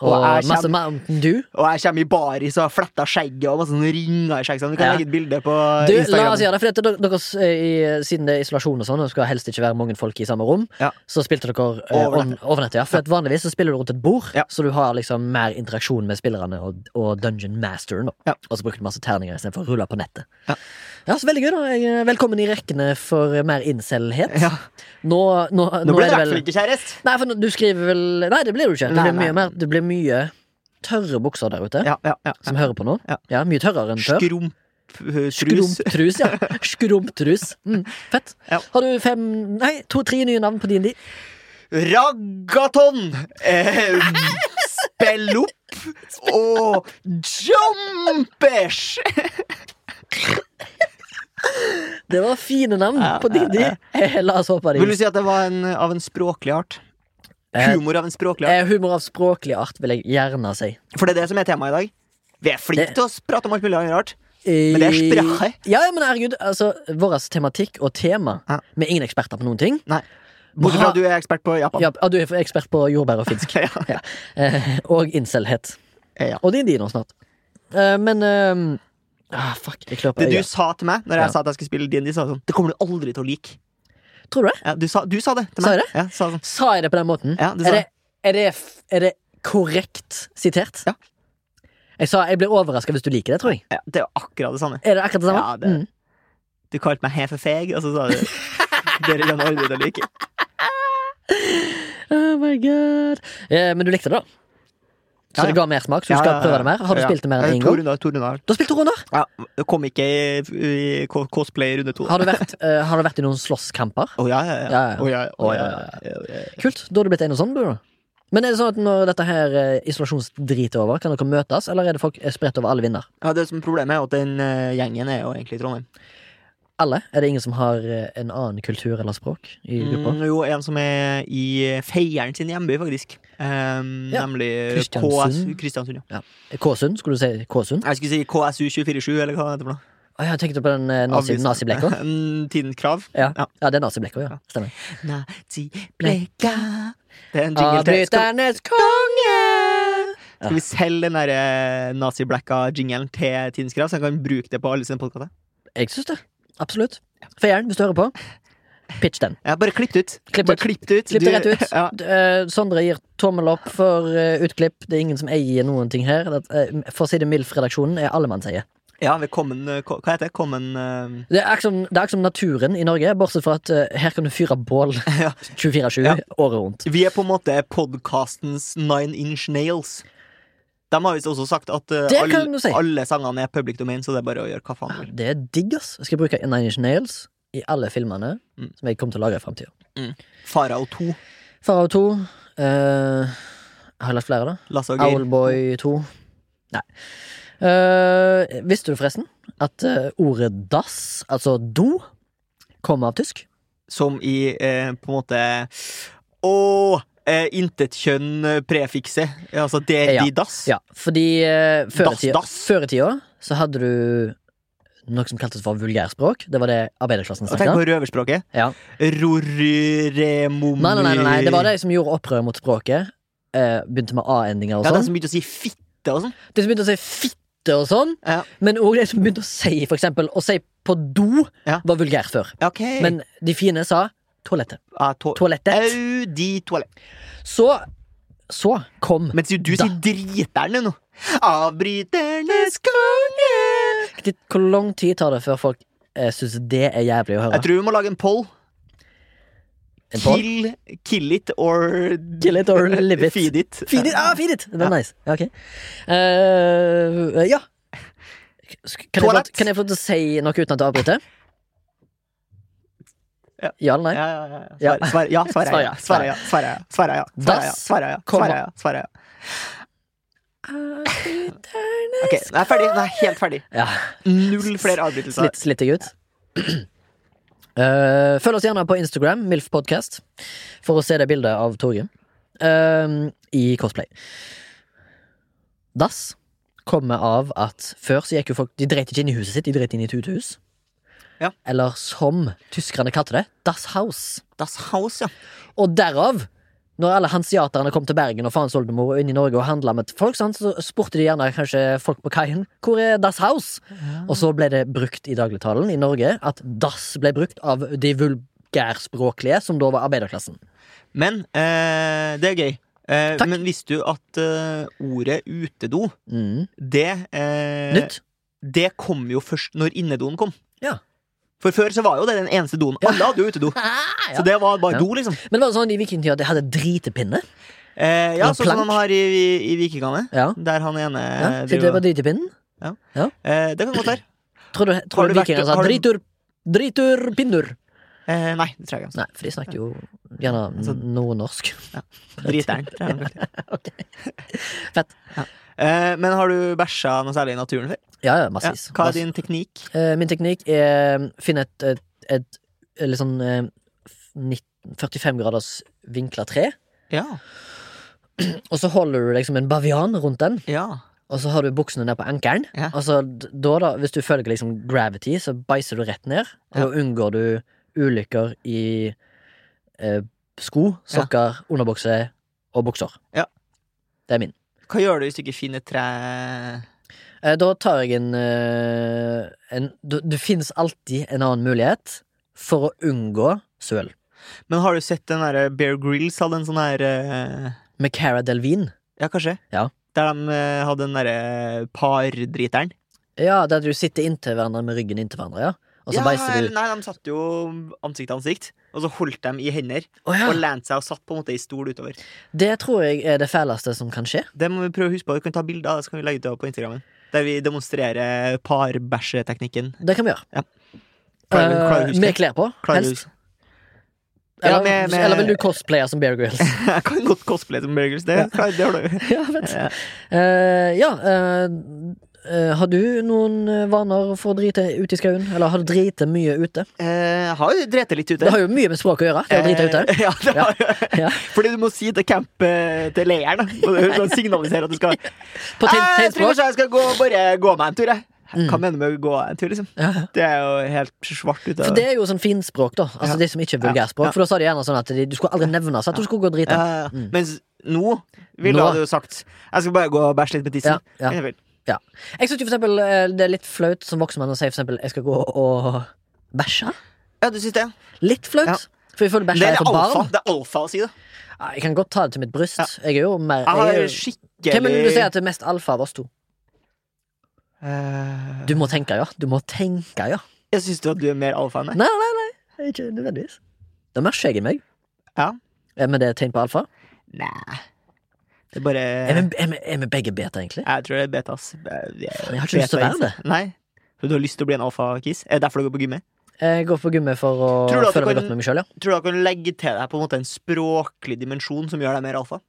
Speaker 1: Og,
Speaker 2: Og jeg
Speaker 1: masse Mountain Dew.
Speaker 2: Og jeg kommer i baris og har fletta skjegget og masse sånne ringer i skjegget. Du kan
Speaker 1: Ja.
Speaker 2: legge et bilde på
Speaker 1: Du, la
Speaker 2: eh, Instagram.
Speaker 1: oss gjøre det, for dette, dere, dere, s- i, siden det er isolasjon og sånn, og det skal helst ikke være mange folk i samme rom,
Speaker 2: Ja.
Speaker 1: så spilte dere eh,
Speaker 2: Over
Speaker 1: on- over nettet. Ja. For at vanligvis så spiller du rundt et bord,
Speaker 2: Ja.
Speaker 1: så du har liksom mer interaksjon med spillerne og, og dungeon masteren. da.
Speaker 2: Ja.
Speaker 1: Og så bruker du masse terninger istedenfor å rulle på nettet.
Speaker 2: Ja.
Speaker 1: Ja, så veldig gøy, da. Jeg, eh, Velkommen i rekkene for mer incel-het.
Speaker 2: Ja.
Speaker 1: Nå, nå, nå,
Speaker 2: Nå ble
Speaker 1: er
Speaker 2: det i
Speaker 1: det
Speaker 2: hvert
Speaker 1: vel
Speaker 2: fall ikke kjæreste.
Speaker 1: Nei, for nå- du skriver vel Nei, det blir du ikke. Det
Speaker 2: Nei,
Speaker 1: blir
Speaker 2: nei.
Speaker 1: mye, mer, det blir mye tørre bukser der ute,
Speaker 2: Ja, ja, ja.
Speaker 1: som hører på nå.
Speaker 2: Ja.
Speaker 1: ja Mye tørrere enn før.
Speaker 2: Skrump-trus.
Speaker 1: Skrumptrus, ja. Skrumptrus. Mm, fett.
Speaker 2: Ja.
Speaker 1: Har du fem, nei, to-tre nye navn på din de?
Speaker 2: Ragaton. Eh, Spellopp. Og Jumpers.
Speaker 1: Det var fine navn
Speaker 2: Ja,
Speaker 1: på din (laughs) de. La oss håpe de
Speaker 2: Vil du si at det var en, av en språklig art? Humor av en språklig art?
Speaker 1: Eh, Humor av språklig art, vil jeg gjerne si.
Speaker 2: For det er det som er temaet i dag. Vi er flinke
Speaker 1: Det-
Speaker 2: til å prate om alt mulig annet rart. Men det er språket.
Speaker 1: Eh, Ja, ja, men herregud, altså, vår tematikk og tema
Speaker 2: Ja.
Speaker 1: Vi er ingen eksperter på noen ting.
Speaker 2: Nei. Bortsett fra
Speaker 1: Bra.
Speaker 2: at du er ekspert på Japan.
Speaker 1: Ja, ja, du er ekspert på jordbær og finsk.
Speaker 2: (laughs) Ja.
Speaker 1: Ja. Eh, og incel-het.
Speaker 2: Ja.
Speaker 1: Og din de nå snart. Eh, men eh, ah, Fuck, jeg klør på
Speaker 2: Det du
Speaker 1: øyet.
Speaker 2: sa til meg Når jeg
Speaker 1: Ja.
Speaker 2: sa at jeg skulle spille DND, sa du sånn Det kommer du aldri til å like.
Speaker 1: Tror du det?
Speaker 2: Ja, du, sa, du sa det til
Speaker 1: Sa
Speaker 2: meg.
Speaker 1: jeg
Speaker 2: Ja, sa sånn.
Speaker 1: Sa jeg det på den måten?
Speaker 2: ja, du
Speaker 1: Er
Speaker 2: sa
Speaker 1: det, er, det, f- er det korrekt sitert?
Speaker 2: Ja.
Speaker 1: Jeg sa jeg blir overraska hvis du liker det, tror jeg.
Speaker 2: Ja, det er jo akkurat det samme.
Speaker 1: Er det akkurat det samme?
Speaker 2: Ja, det-
Speaker 1: Mm.
Speaker 2: Du kalte meg hefefeg, og så
Speaker 1: (laughs)
Speaker 2: sa du Dere kan aldri til å like.
Speaker 1: Oh my god. Eh, men du likte det, da? Så
Speaker 2: Ja, ja.
Speaker 1: det ga mersmak? Så du
Speaker 2: Ja,
Speaker 1: skal
Speaker 2: ja, ja.
Speaker 1: prøve det mer? Har du
Speaker 2: Ja. Eh,
Speaker 1: spilt det mer
Speaker 2: Ja,
Speaker 1: enn én
Speaker 2: To
Speaker 1: gang?
Speaker 2: runder. To runder.
Speaker 1: Du har spilt to runder!
Speaker 2: Ja, det kom ikke i, i ko- cosplay i runde to. Å
Speaker 1: Har du vært, eh, har du vært i noen slåsskamper?
Speaker 2: ja, ja, ja.
Speaker 1: Ja, ja.
Speaker 2: Å, ja, å,
Speaker 1: Å, ja,
Speaker 2: ja,
Speaker 1: ja,
Speaker 2: ja, ja, ja.
Speaker 1: Kult. Da har du blitt en og sånn, du, da. Men er det sånn at når dette her eh, isolasjonsdrit er over, kan dere møtes, eller er det folk eh, spredt over alle vinder?
Speaker 2: Ja, det som er Problemet er jo at den eh, gjengen er jo egentlig i Trondheim.
Speaker 1: Alle? Er det ingen som har eh, en annen kultur eller språk i gruppa?
Speaker 2: Mm, jo, en som er i eh, Feieren sin hjemby, faktisk. Em,
Speaker 1: Ja.
Speaker 2: Nemlig eh,
Speaker 1: Kristiansund.
Speaker 2: KSU Kristiansund. Ja.
Speaker 1: Kåsund? Skulle du si Kåsund?
Speaker 2: Jeg skulle si KSU247, eller hva det heter for noe.
Speaker 1: Å, jeg tenkte på den eh, nazi-
Speaker 2: Avisen.
Speaker 1: naziblekka.
Speaker 2: (laughs) Mm, Tidens krav.
Speaker 1: Ja.
Speaker 2: Ja.
Speaker 1: ja, det er naziblekka, ja. Stemmer.
Speaker 2: Nazi-blekka Det er en
Speaker 1: Ah,
Speaker 2: jingle til. Skal,
Speaker 1: Avbryternes konge!
Speaker 2: skal vi selge den der eh, nazi-blekka-jingelen til Tidens krav, så han kan bruke det på alle sine podkaster?
Speaker 1: Jeg syns det. Absolutt. Feieren, hvis du hører på, pitch den.
Speaker 2: Ja, bare klipp det ut.
Speaker 1: Klipp
Speaker 2: bare
Speaker 1: det ut.
Speaker 2: klipp det ut.
Speaker 1: Klipp
Speaker 2: Du-
Speaker 1: det rett ut.
Speaker 2: Ja.
Speaker 1: D- eh, Sondre gir tommel opp for eh, utklipp. Det er ingen som eier noen ting her. Det, eh, for å si det mildt, redaksjonen er allemannseier.
Speaker 2: ja, velkommen eh, ko- Hva heter det? Kommen eh,
Speaker 1: Det er akkurat som, det er akkurat som naturen i Norge, bortsett fra at eh, her kan du fyre
Speaker 2: (laughs)
Speaker 1: bål 24-7
Speaker 2: Ja.
Speaker 1: året rundt.
Speaker 2: Vi er på en måte podkastens Nine Inch Nails. De har visst også sagt at eh,
Speaker 1: Det
Speaker 2: alle-
Speaker 1: kan du si.
Speaker 2: alle sangene er public domain, så det er bare å gjøre hva faen du vil.
Speaker 1: Det er digg, ass. Jeg skal bruke Nine Inch Nails i alle filmene
Speaker 2: Mm.
Speaker 1: som jeg kommer til å lage i framtida.
Speaker 2: Farao 2,
Speaker 1: Farao 2. eh, har jeg lagt flere, da?
Speaker 2: Lasse og Geir.
Speaker 1: Owlboy 2. Nei. Eh, visste du forresten at eh, ordet dass, altså do, kommer av tysk?
Speaker 2: Som i eh, på en måte Å! Eh, Intetkjønn-prefikset. Altså det
Speaker 1: Ja.
Speaker 2: de dass.
Speaker 1: Ja, fordi eh, før,
Speaker 2: Dass,
Speaker 1: i tida,
Speaker 2: dass.
Speaker 1: før i tida så hadde du noe som kaltes for vulgærspråk. Det var det arbeiderklassen
Speaker 2: Og tenk
Speaker 1: snakka.
Speaker 2: på røverspråket.
Speaker 1: Ja.
Speaker 2: Roryremomyr
Speaker 1: Nei, nei, nei, nei, nei, det var de som gjorde opprør mot språket. eh, begynte med a-endinger og
Speaker 2: Ja, de
Speaker 1: sånn.
Speaker 2: som begynte å si fitte og sånn.
Speaker 1: De som begynte å si fitte og sånn,
Speaker 2: Ja.
Speaker 1: men òg de som begynte å si for eksempel, å si på do,
Speaker 2: Ja.
Speaker 1: var vulgært før.
Speaker 2: Ja, ok.
Speaker 1: Men de fine sa toalettet.
Speaker 2: ja, to
Speaker 1: Toalettet.
Speaker 2: Au, de toalett.
Speaker 1: Så Så kom
Speaker 2: Mens jo du
Speaker 1: Da.
Speaker 2: sier driterne nå. Avbryternes konge.
Speaker 1: Ditt- Hvor lang tid tar det før folk eh, syns det er jævlig å høre?
Speaker 2: Jeg tror vi må lage en poll.
Speaker 1: En poll?
Speaker 2: Kill, kill it or
Speaker 1: Kill it or live it.
Speaker 2: Feed it.
Speaker 1: Feed it! Ah, feed it! Det var
Speaker 2: Ja.
Speaker 1: nice. Ja, ok. Eh, ja. Sk- Kan jeg, få,
Speaker 2: Toalett.
Speaker 1: kan jeg få til å si noe uten at du avbryter?
Speaker 2: Ja.
Speaker 1: Ja eller nei?
Speaker 2: Ja, ja, ja.
Speaker 1: Ja.
Speaker 2: ja. Svar, svar, ja, svarer jeg.
Speaker 1: Svarer
Speaker 2: ja.
Speaker 1: jeg.
Speaker 2: Svarer jeg. Svarer jeg. Svarer jeg. Svarer jeg.
Speaker 1: Das.
Speaker 2: Svarer jeg.
Speaker 1: Komma.
Speaker 2: Svarer jeg. Svarer jeg.
Speaker 1: Avbryterne
Speaker 2: Ok, nå er jeg ferdig. Nå er jeg helt ferdig.
Speaker 1: Ja.
Speaker 2: Null flere avbrytelser.
Speaker 1: Slitt, slitt deg ut. (clears throat) Eh, følg oss gjerne på Instagram, MILF Podcast, for å se det bildet av Torgrim eh, i cosplay. Dass kommer av at før så gikk jo folk De dreit ikke inn i huset sitt, de dreit inn i et uthus.
Speaker 2: Ja.
Speaker 1: Eller som tyskerne kalte det, Das Haus.
Speaker 2: Das Haus, ja.
Speaker 1: Og derav, når alle hansiaterne kom til Bergen og faens oldemor og inn i Norge og handla med folk, sant, så spurte de gjerne kanskje folk på kaien hvor er Das Haus? Og så ble det brukt i dagligtalen i Norge at dass ble brukt av de vulgærspråklige, som da var arbeiderklassen.
Speaker 2: Men eh, det er gøy. Eh,
Speaker 1: Takk.
Speaker 2: men visste du at eh, ordet utedo,
Speaker 1: Mm.
Speaker 2: det eh,
Speaker 1: Nytt.
Speaker 2: Det kom jo først når innedoen kom.
Speaker 1: Ja.
Speaker 2: For før så var jo det den eneste doen. Alle hadde jo utedo.
Speaker 1: Ah, (laughs) ja.
Speaker 2: Så det var
Speaker 1: Ja.
Speaker 2: bare do, liksom.
Speaker 1: Men det var sånn i vikingtida at de hadde dritepinne.
Speaker 2: Eh, ja,
Speaker 1: Eller
Speaker 2: Sånn som
Speaker 1: plank.
Speaker 2: han har i, i, i Vikingane.
Speaker 1: Ja.
Speaker 2: Der han ene
Speaker 1: Ja,
Speaker 2: eh,
Speaker 1: så det
Speaker 2: driver-
Speaker 1: var dritepinnen.
Speaker 2: eh, Det kan godt være.
Speaker 1: Tror du,
Speaker 2: Har
Speaker 1: tror
Speaker 2: du
Speaker 1: du
Speaker 2: vært-
Speaker 1: vikingene sa
Speaker 2: har du-
Speaker 1: dritur, dritur, pinnur?
Speaker 2: Eh, nei, det tror jeg ikke.
Speaker 1: Nei, for de snakker jo gjerne
Speaker 2: Altså-
Speaker 1: noe norsk.
Speaker 2: Driteren. tror jeg han kalte altså. det. (laughs)
Speaker 1: Ok.
Speaker 2: Eh, men har du bæsja noe særlig i naturen før?
Speaker 1: Ja, ja,
Speaker 2: Ja.
Speaker 1: massevis.
Speaker 2: Hva
Speaker 1: Mass-
Speaker 2: er din teknikk?
Speaker 1: Eh, Min teknikk er um, finne et, et, et, et litt sånn eh, f- nitt- 45 graders vinkla tre,
Speaker 2: Ja.
Speaker 1: og så holder du liksom en bavian rundt den,
Speaker 2: ja.
Speaker 1: og så har du buksene ned på ankelen,
Speaker 2: Ja.
Speaker 1: og så d- da, da, hvis du følger liksom gravity, så bæsjer du rett ned, og
Speaker 2: Ja.
Speaker 1: da unngår du ulykker i eh, sko, sokker, underbukse og bukser.
Speaker 2: Ja.
Speaker 1: Det er min.
Speaker 2: Hva gjør du hvis du ikke finner et tre
Speaker 1: Eh, Da tar jeg en, eh, en du- Det finnes alltid en annen mulighet for å unngå søl.
Speaker 2: Men har du sett den der eh, Bear Grills hadde en sånn her eh,
Speaker 1: Med Cara Delvin.
Speaker 2: Ja, kanskje?
Speaker 1: Ja.
Speaker 2: Der de eh, hadde den derre pardriteren.
Speaker 1: Ja, der du sitter inntil hverandre med ryggen inntil hverandre. ja Og så
Speaker 2: ja,
Speaker 1: beiser
Speaker 2: eller
Speaker 1: du.
Speaker 2: Nei, de satt jo ansikt til ansikt, og så holdt de i hender
Speaker 1: Å
Speaker 2: og
Speaker 1: ja.
Speaker 2: lente seg og satt på en måte i stol utover.
Speaker 1: Det tror jeg er det fæleste som kan skje.
Speaker 2: Det må vi prøve å huske på. Vi kan ta bilder av det, så kan vi legge det opp på Instagrammen. Der vi demonstrerer parbæsjeteknikken. (laughs)
Speaker 1: Det kan vi gjøre.
Speaker 2: Ja. Klarer du-
Speaker 1: Eh,
Speaker 2: klarer du å huske
Speaker 1: med
Speaker 2: det?
Speaker 1: klær på,
Speaker 2: Klarer du-
Speaker 1: helst.
Speaker 2: Ja,
Speaker 1: Eller,
Speaker 2: med- med-
Speaker 1: eller vil du cosplaye som Bear
Speaker 2: (laughs)
Speaker 1: Grylls?
Speaker 2: Jeg kan godt cosplaye som Burgers. Det,
Speaker 1: Ja.
Speaker 2: klarer- det har du.
Speaker 1: (laughs) ja, vet du. Eh, ja eh, eh, har du noen eh, vaner for å drite ute i skauen? Eller har du drite mye ute?
Speaker 2: Eh, jeg har jo drept litt ute.
Speaker 1: Det har jo mye med språk å gjøre. Det å drite ute.
Speaker 2: Eh, (laughs) Ja, det har jo.
Speaker 1: Ja.
Speaker 2: Fordi du må si til camp eh, til leiren, da. Og det er
Speaker 1: (laughs)
Speaker 2: sånn Signalisere at du skal
Speaker 1: På tegn,
Speaker 2: Eh, Jeg tror
Speaker 1: tegnspråk?
Speaker 2: kanskje jeg skal gå, bare gå meg en tur, jeg.
Speaker 1: Mm.
Speaker 2: Hva mener du med å gå en tur, liksom?
Speaker 1: Ja, ja.
Speaker 2: Det er jo helt svart ute.
Speaker 1: For det er jo sånn finspråk, da. Altså
Speaker 2: Ja.
Speaker 1: det som ikke er vulgærspråk.
Speaker 2: Ja.
Speaker 1: For da sa de gjerne sånn at de, du skulle aldri nevne så at du skulle gå og drite.
Speaker 2: Eh,
Speaker 1: Mm.
Speaker 2: Mens nå ville
Speaker 1: Nå.
Speaker 2: du jo sagt Jeg skal bare gå og bæsje litt med
Speaker 1: Ja,
Speaker 2: tissen.
Speaker 1: ja.
Speaker 2: Men jeg vil.
Speaker 1: Jeg syns jo for eksempel eh, det er litt flaut som voksen mann å si for eksempel jeg skal gå og bæsje.
Speaker 2: ja du syns det?
Speaker 1: Litt flaut.
Speaker 2: Ja.
Speaker 1: For jeg føler
Speaker 2: Det
Speaker 1: bæsja
Speaker 2: er
Speaker 1: er for
Speaker 2: alfa,
Speaker 1: barn.
Speaker 2: det er alfa å si det.
Speaker 1: Ja, Jeg kan godt ta det til mitt bryst.
Speaker 2: Ja. Ah,
Speaker 1: Jeg er jo mer
Speaker 2: Jeg
Speaker 1: jeg
Speaker 2: har
Speaker 1: er jo...
Speaker 2: skikkelig
Speaker 1: Hvem vil du si at er mest alfa av oss to?
Speaker 2: Eh,
Speaker 1: Du må tenke, ja. Du må tenke, ja.
Speaker 2: Jeg syns du at du er mer alfa enn meg.
Speaker 1: Nei, nei, nei. Ikke nødvendigvis. Det er mer skjegg i meg.
Speaker 2: Ja.
Speaker 1: Eh, Men det er et tegn på alfa.
Speaker 2: Nei. Det er bare
Speaker 1: Er vi- er vi er vi begge beta, egentlig?
Speaker 2: Jeg tror det er betas. Jeg
Speaker 1: Jeg har ikke lyst til å være det.
Speaker 2: Nei. For du har lyst til å bli en alfakis? Er det derfor du går på gymmet?
Speaker 1: Jeg går på gummi for å
Speaker 2: Tror du at du
Speaker 1: føle meg
Speaker 2: kan-
Speaker 1: godt med meg sjøl, ja.
Speaker 2: Tror du du kan legge til deg på en måte en språklig dimensjon som gjør deg mer alfa?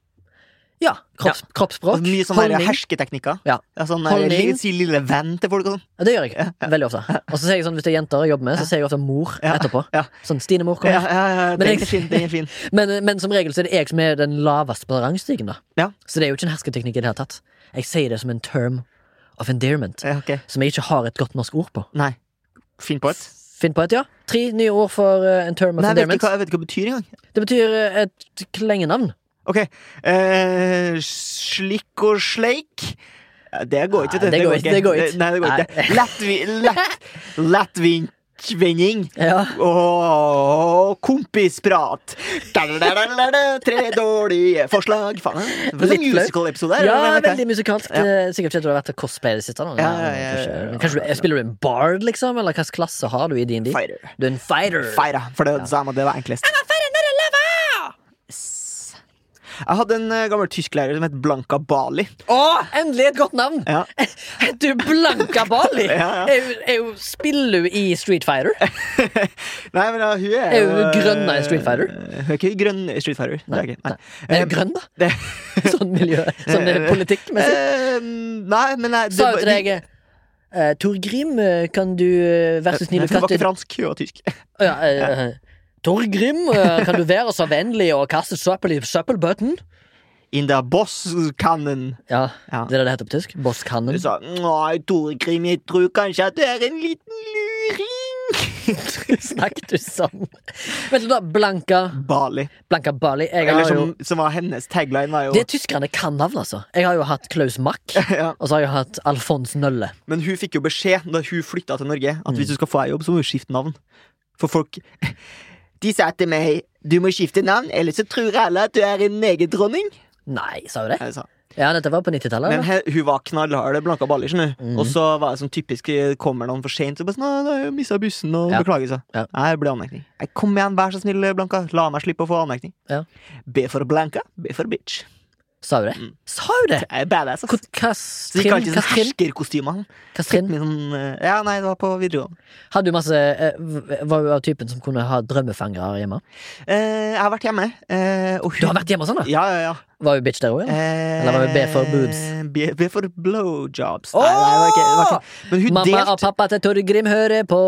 Speaker 1: ja. Kropps, Kroppsspråk.
Speaker 2: Og Altså, mye sånne der
Speaker 1: Holdning.
Speaker 2: hersketeknikker.
Speaker 1: Ja.
Speaker 2: sånn der,
Speaker 1: Holdning.
Speaker 2: li- Si lille venn til folk og sånn.
Speaker 1: Ja, Det gjør jeg. Veldig ofte. Og så sier jeg sånn, Hvis det er jenter jeg jobber med, så sier jeg ofte mor
Speaker 2: Ja.
Speaker 1: etterpå.
Speaker 2: Ja.
Speaker 1: Sånn, Stine mor kom
Speaker 2: Ja, ja, ja,
Speaker 1: Men
Speaker 2: den
Speaker 1: jeg-
Speaker 2: er fin. Den er fin.
Speaker 1: men, men som regel så er det jeg som er den laveste på rangstigen. da
Speaker 2: Ja.
Speaker 1: Så det er jo ikke en hersketeknikk i det hele tatt. Jeg sier det som en term of endearment.
Speaker 2: Ja, ok.
Speaker 1: Som jeg ikke har et godt norsk ord på.
Speaker 2: Nei. Finn på et.
Speaker 1: Finn på et, ja. Tre nye ord for eh, en term of
Speaker 2: Nei, jeg vet
Speaker 1: endearment.
Speaker 2: ikke hva, jeg vet ikke hva det betyr engang.
Speaker 1: Det betyr eh, et klengenavn.
Speaker 2: Ok. Eh, slikk og sleik. Ja, Det går ikke,
Speaker 1: Nei, det går ikke, det går ikke.
Speaker 2: Nei, det går ikke. Lettvi, lett, lettvintvending.
Speaker 1: Ja.
Speaker 2: Og kompisprat. Da-da-da-da-da-da. Tre dårlige forslag. Faen, det var en
Speaker 1: Litt flaut.
Speaker 2: musical-episode her.
Speaker 1: Ja,
Speaker 2: eller?
Speaker 1: veldig musikalsk.
Speaker 2: Ja.
Speaker 1: Eh, Sikkert ikke at du har vært og cosplay i det siste. da.
Speaker 2: Ja, ja, ja,
Speaker 1: Kanskje,
Speaker 2: ja, ja.
Speaker 1: kanskje du, Spiller du en bard, liksom? Eller hvilken klasse har du i DND?
Speaker 2: Fighter.
Speaker 1: Du er en fighter.
Speaker 2: Feira, for det, sa jeg meg, det var enklest. Yes. Jeg hadde en eh, gammel tysklærer som het Blanka Bali.
Speaker 1: Å, endelig et godt navn!
Speaker 2: Ja.
Speaker 1: (laughs) Du Blanka Bali!
Speaker 2: (laughs) Ja, ja.
Speaker 1: Er jo- er jo- Spiller du i Street Fighter?
Speaker 2: Nei, men ja, hun er eh,
Speaker 1: Er hun grønna i Street Fighter?
Speaker 2: Hun er ikke grønn i Street Fighter. Nei, det er, ikke, nei.
Speaker 1: Er du grønn, da? (laughs)
Speaker 2: Det-
Speaker 1: Sånn miljø, sånn eh,
Speaker 2: (laughs)
Speaker 1: politikkmessig?
Speaker 2: Eh, nei, men nei,
Speaker 1: Sa jo
Speaker 2: var-
Speaker 1: til deg eh, Tor Grim, eh, kan du eh, være så
Speaker 2: Nei,
Speaker 1: snill å
Speaker 2: Hun var
Speaker 1: kaste
Speaker 2: ikke fransk, hun var tysk.
Speaker 1: Å, ja, eh, eh, Tor Grim, eh, kan du være så vennlig å kaste søppel i søppelbøtten?
Speaker 2: In the boss cannon.
Speaker 1: Ja,
Speaker 2: Ja.
Speaker 1: det er det det (laughs) heter på tysk. Bosskannon.
Speaker 2: Hun sa Nei, Tore Grim, jeg tror kanskje at du er en liten luring.
Speaker 1: Snakk du sånn? Vet du da, Blanka,
Speaker 2: Bali.
Speaker 1: Blanka Bali jeg
Speaker 2: Eller
Speaker 1: har jo,
Speaker 2: som, som var hennes tagline, var jo
Speaker 1: Det tyskerne kan navn, altså. Jeg har jo hatt Klaus Mack,
Speaker 2: (laughs) ja.
Speaker 1: og så har jeg hatt Alfons Nølle.
Speaker 2: Men hun fikk jo beskjed da hun flytta til Norge, at
Speaker 1: Mm.
Speaker 2: hvis du skal få deg jobb, så må du skifte navn. For folk (laughs) De sa til meg du må skifte navn, ellers så tror alle at du er en negerdronning.
Speaker 1: Nei, sa hun det?
Speaker 2: Jeg sa.
Speaker 1: Ja, dette var på 90-tallet.
Speaker 2: Men
Speaker 1: eller?
Speaker 2: he, hun var knallhard, blanka baller. skjønner du.
Speaker 1: Mm.
Speaker 2: Og så var det sånn typisk kommer noen for seint og bare sånn, «Nei, jeg mista bussen og
Speaker 1: Ja.
Speaker 2: beklager seg.
Speaker 1: Ja.
Speaker 2: Nei, det ble anmerkning. Nei, Kom igjen, vær så snill, Blanka. La meg slippe å få anmerkning.
Speaker 1: Ja.
Speaker 2: B for Blanka, B for bitch.
Speaker 1: Sa hun det?
Speaker 2: Mm.
Speaker 1: Sa hun det?
Speaker 2: Jeg er badass,
Speaker 1: Hvor-
Speaker 2: ass.
Speaker 1: Hva
Speaker 2: Så de
Speaker 1: trinn? Hva
Speaker 2: kalte det sånn
Speaker 1: trinn?
Speaker 2: herskerkostyme. han.
Speaker 1: Hva trinn?
Speaker 2: Med sånn, eh, Ja, nei, det var på videregående.
Speaker 1: Hadde du masse eh, v- Var du av typen som kunne ha drømmefangere hjemme?
Speaker 2: Eh, jeg har vært hjemme. eh, og hun...
Speaker 1: Du har vært hjemme sånn, da?
Speaker 2: Ja, ja, ja.
Speaker 1: Var jo bitch der òg, ja.
Speaker 2: Eh,
Speaker 1: Eller var det B for boobs?
Speaker 2: B, B for blowjobs. Nei, nei, det var ikke, det var ikke. Men hun
Speaker 1: Mamma og
Speaker 2: delte
Speaker 1: pappa til Tord Grim hører på.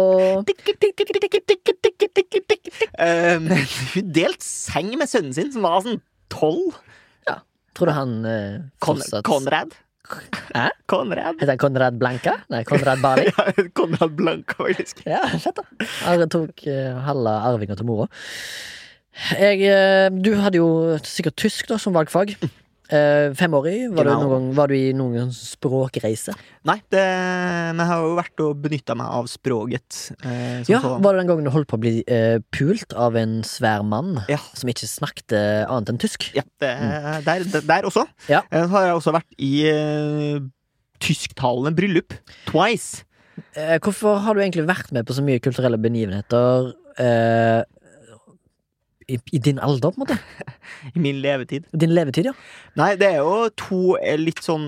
Speaker 2: eh, men Hun delte seng med sønnen sin, som var sånn tolv.
Speaker 1: Tror du han eh,
Speaker 2: Kon
Speaker 1: fortsatt-
Speaker 2: Konrad.
Speaker 1: Hæ?
Speaker 2: Konrad.
Speaker 1: Heter han Konrad Blanka? Nei, Konrad
Speaker 2: (laughs)
Speaker 1: Bali.
Speaker 2: Ja, Konrad Blanka, faktisk.
Speaker 1: Ja, fett, da. Arre tok eh, halve arvinga til mora. Jeg, eh, du hadde jo sikkert tysk da, som valgfag. Eh, femårig. Var, du
Speaker 2: Genau.
Speaker 1: noen gang, var du i noen gang språkreise?
Speaker 2: Nei, det, men jeg har jo vært og benytta meg av språket. Eh, som
Speaker 1: Ja,
Speaker 2: sådan.
Speaker 1: Var det den gangen du holdt på å bli eh, pult av en svær mann
Speaker 2: Ja.
Speaker 1: som ikke snakket eh, annet enn tysk?
Speaker 2: Ja, det, der, der, der også.
Speaker 1: Ja.
Speaker 2: Eh, Så har jeg også vært i eh, tysktalende bryllup. Twice.
Speaker 1: Eh, hvorfor har du egentlig vært med på så mye kulturelle begivenheter eh, i, i din alder, på en måte?
Speaker 2: I min levetid.
Speaker 1: Din levetid, ja.
Speaker 2: Nei, det er jo to eh, litt sånn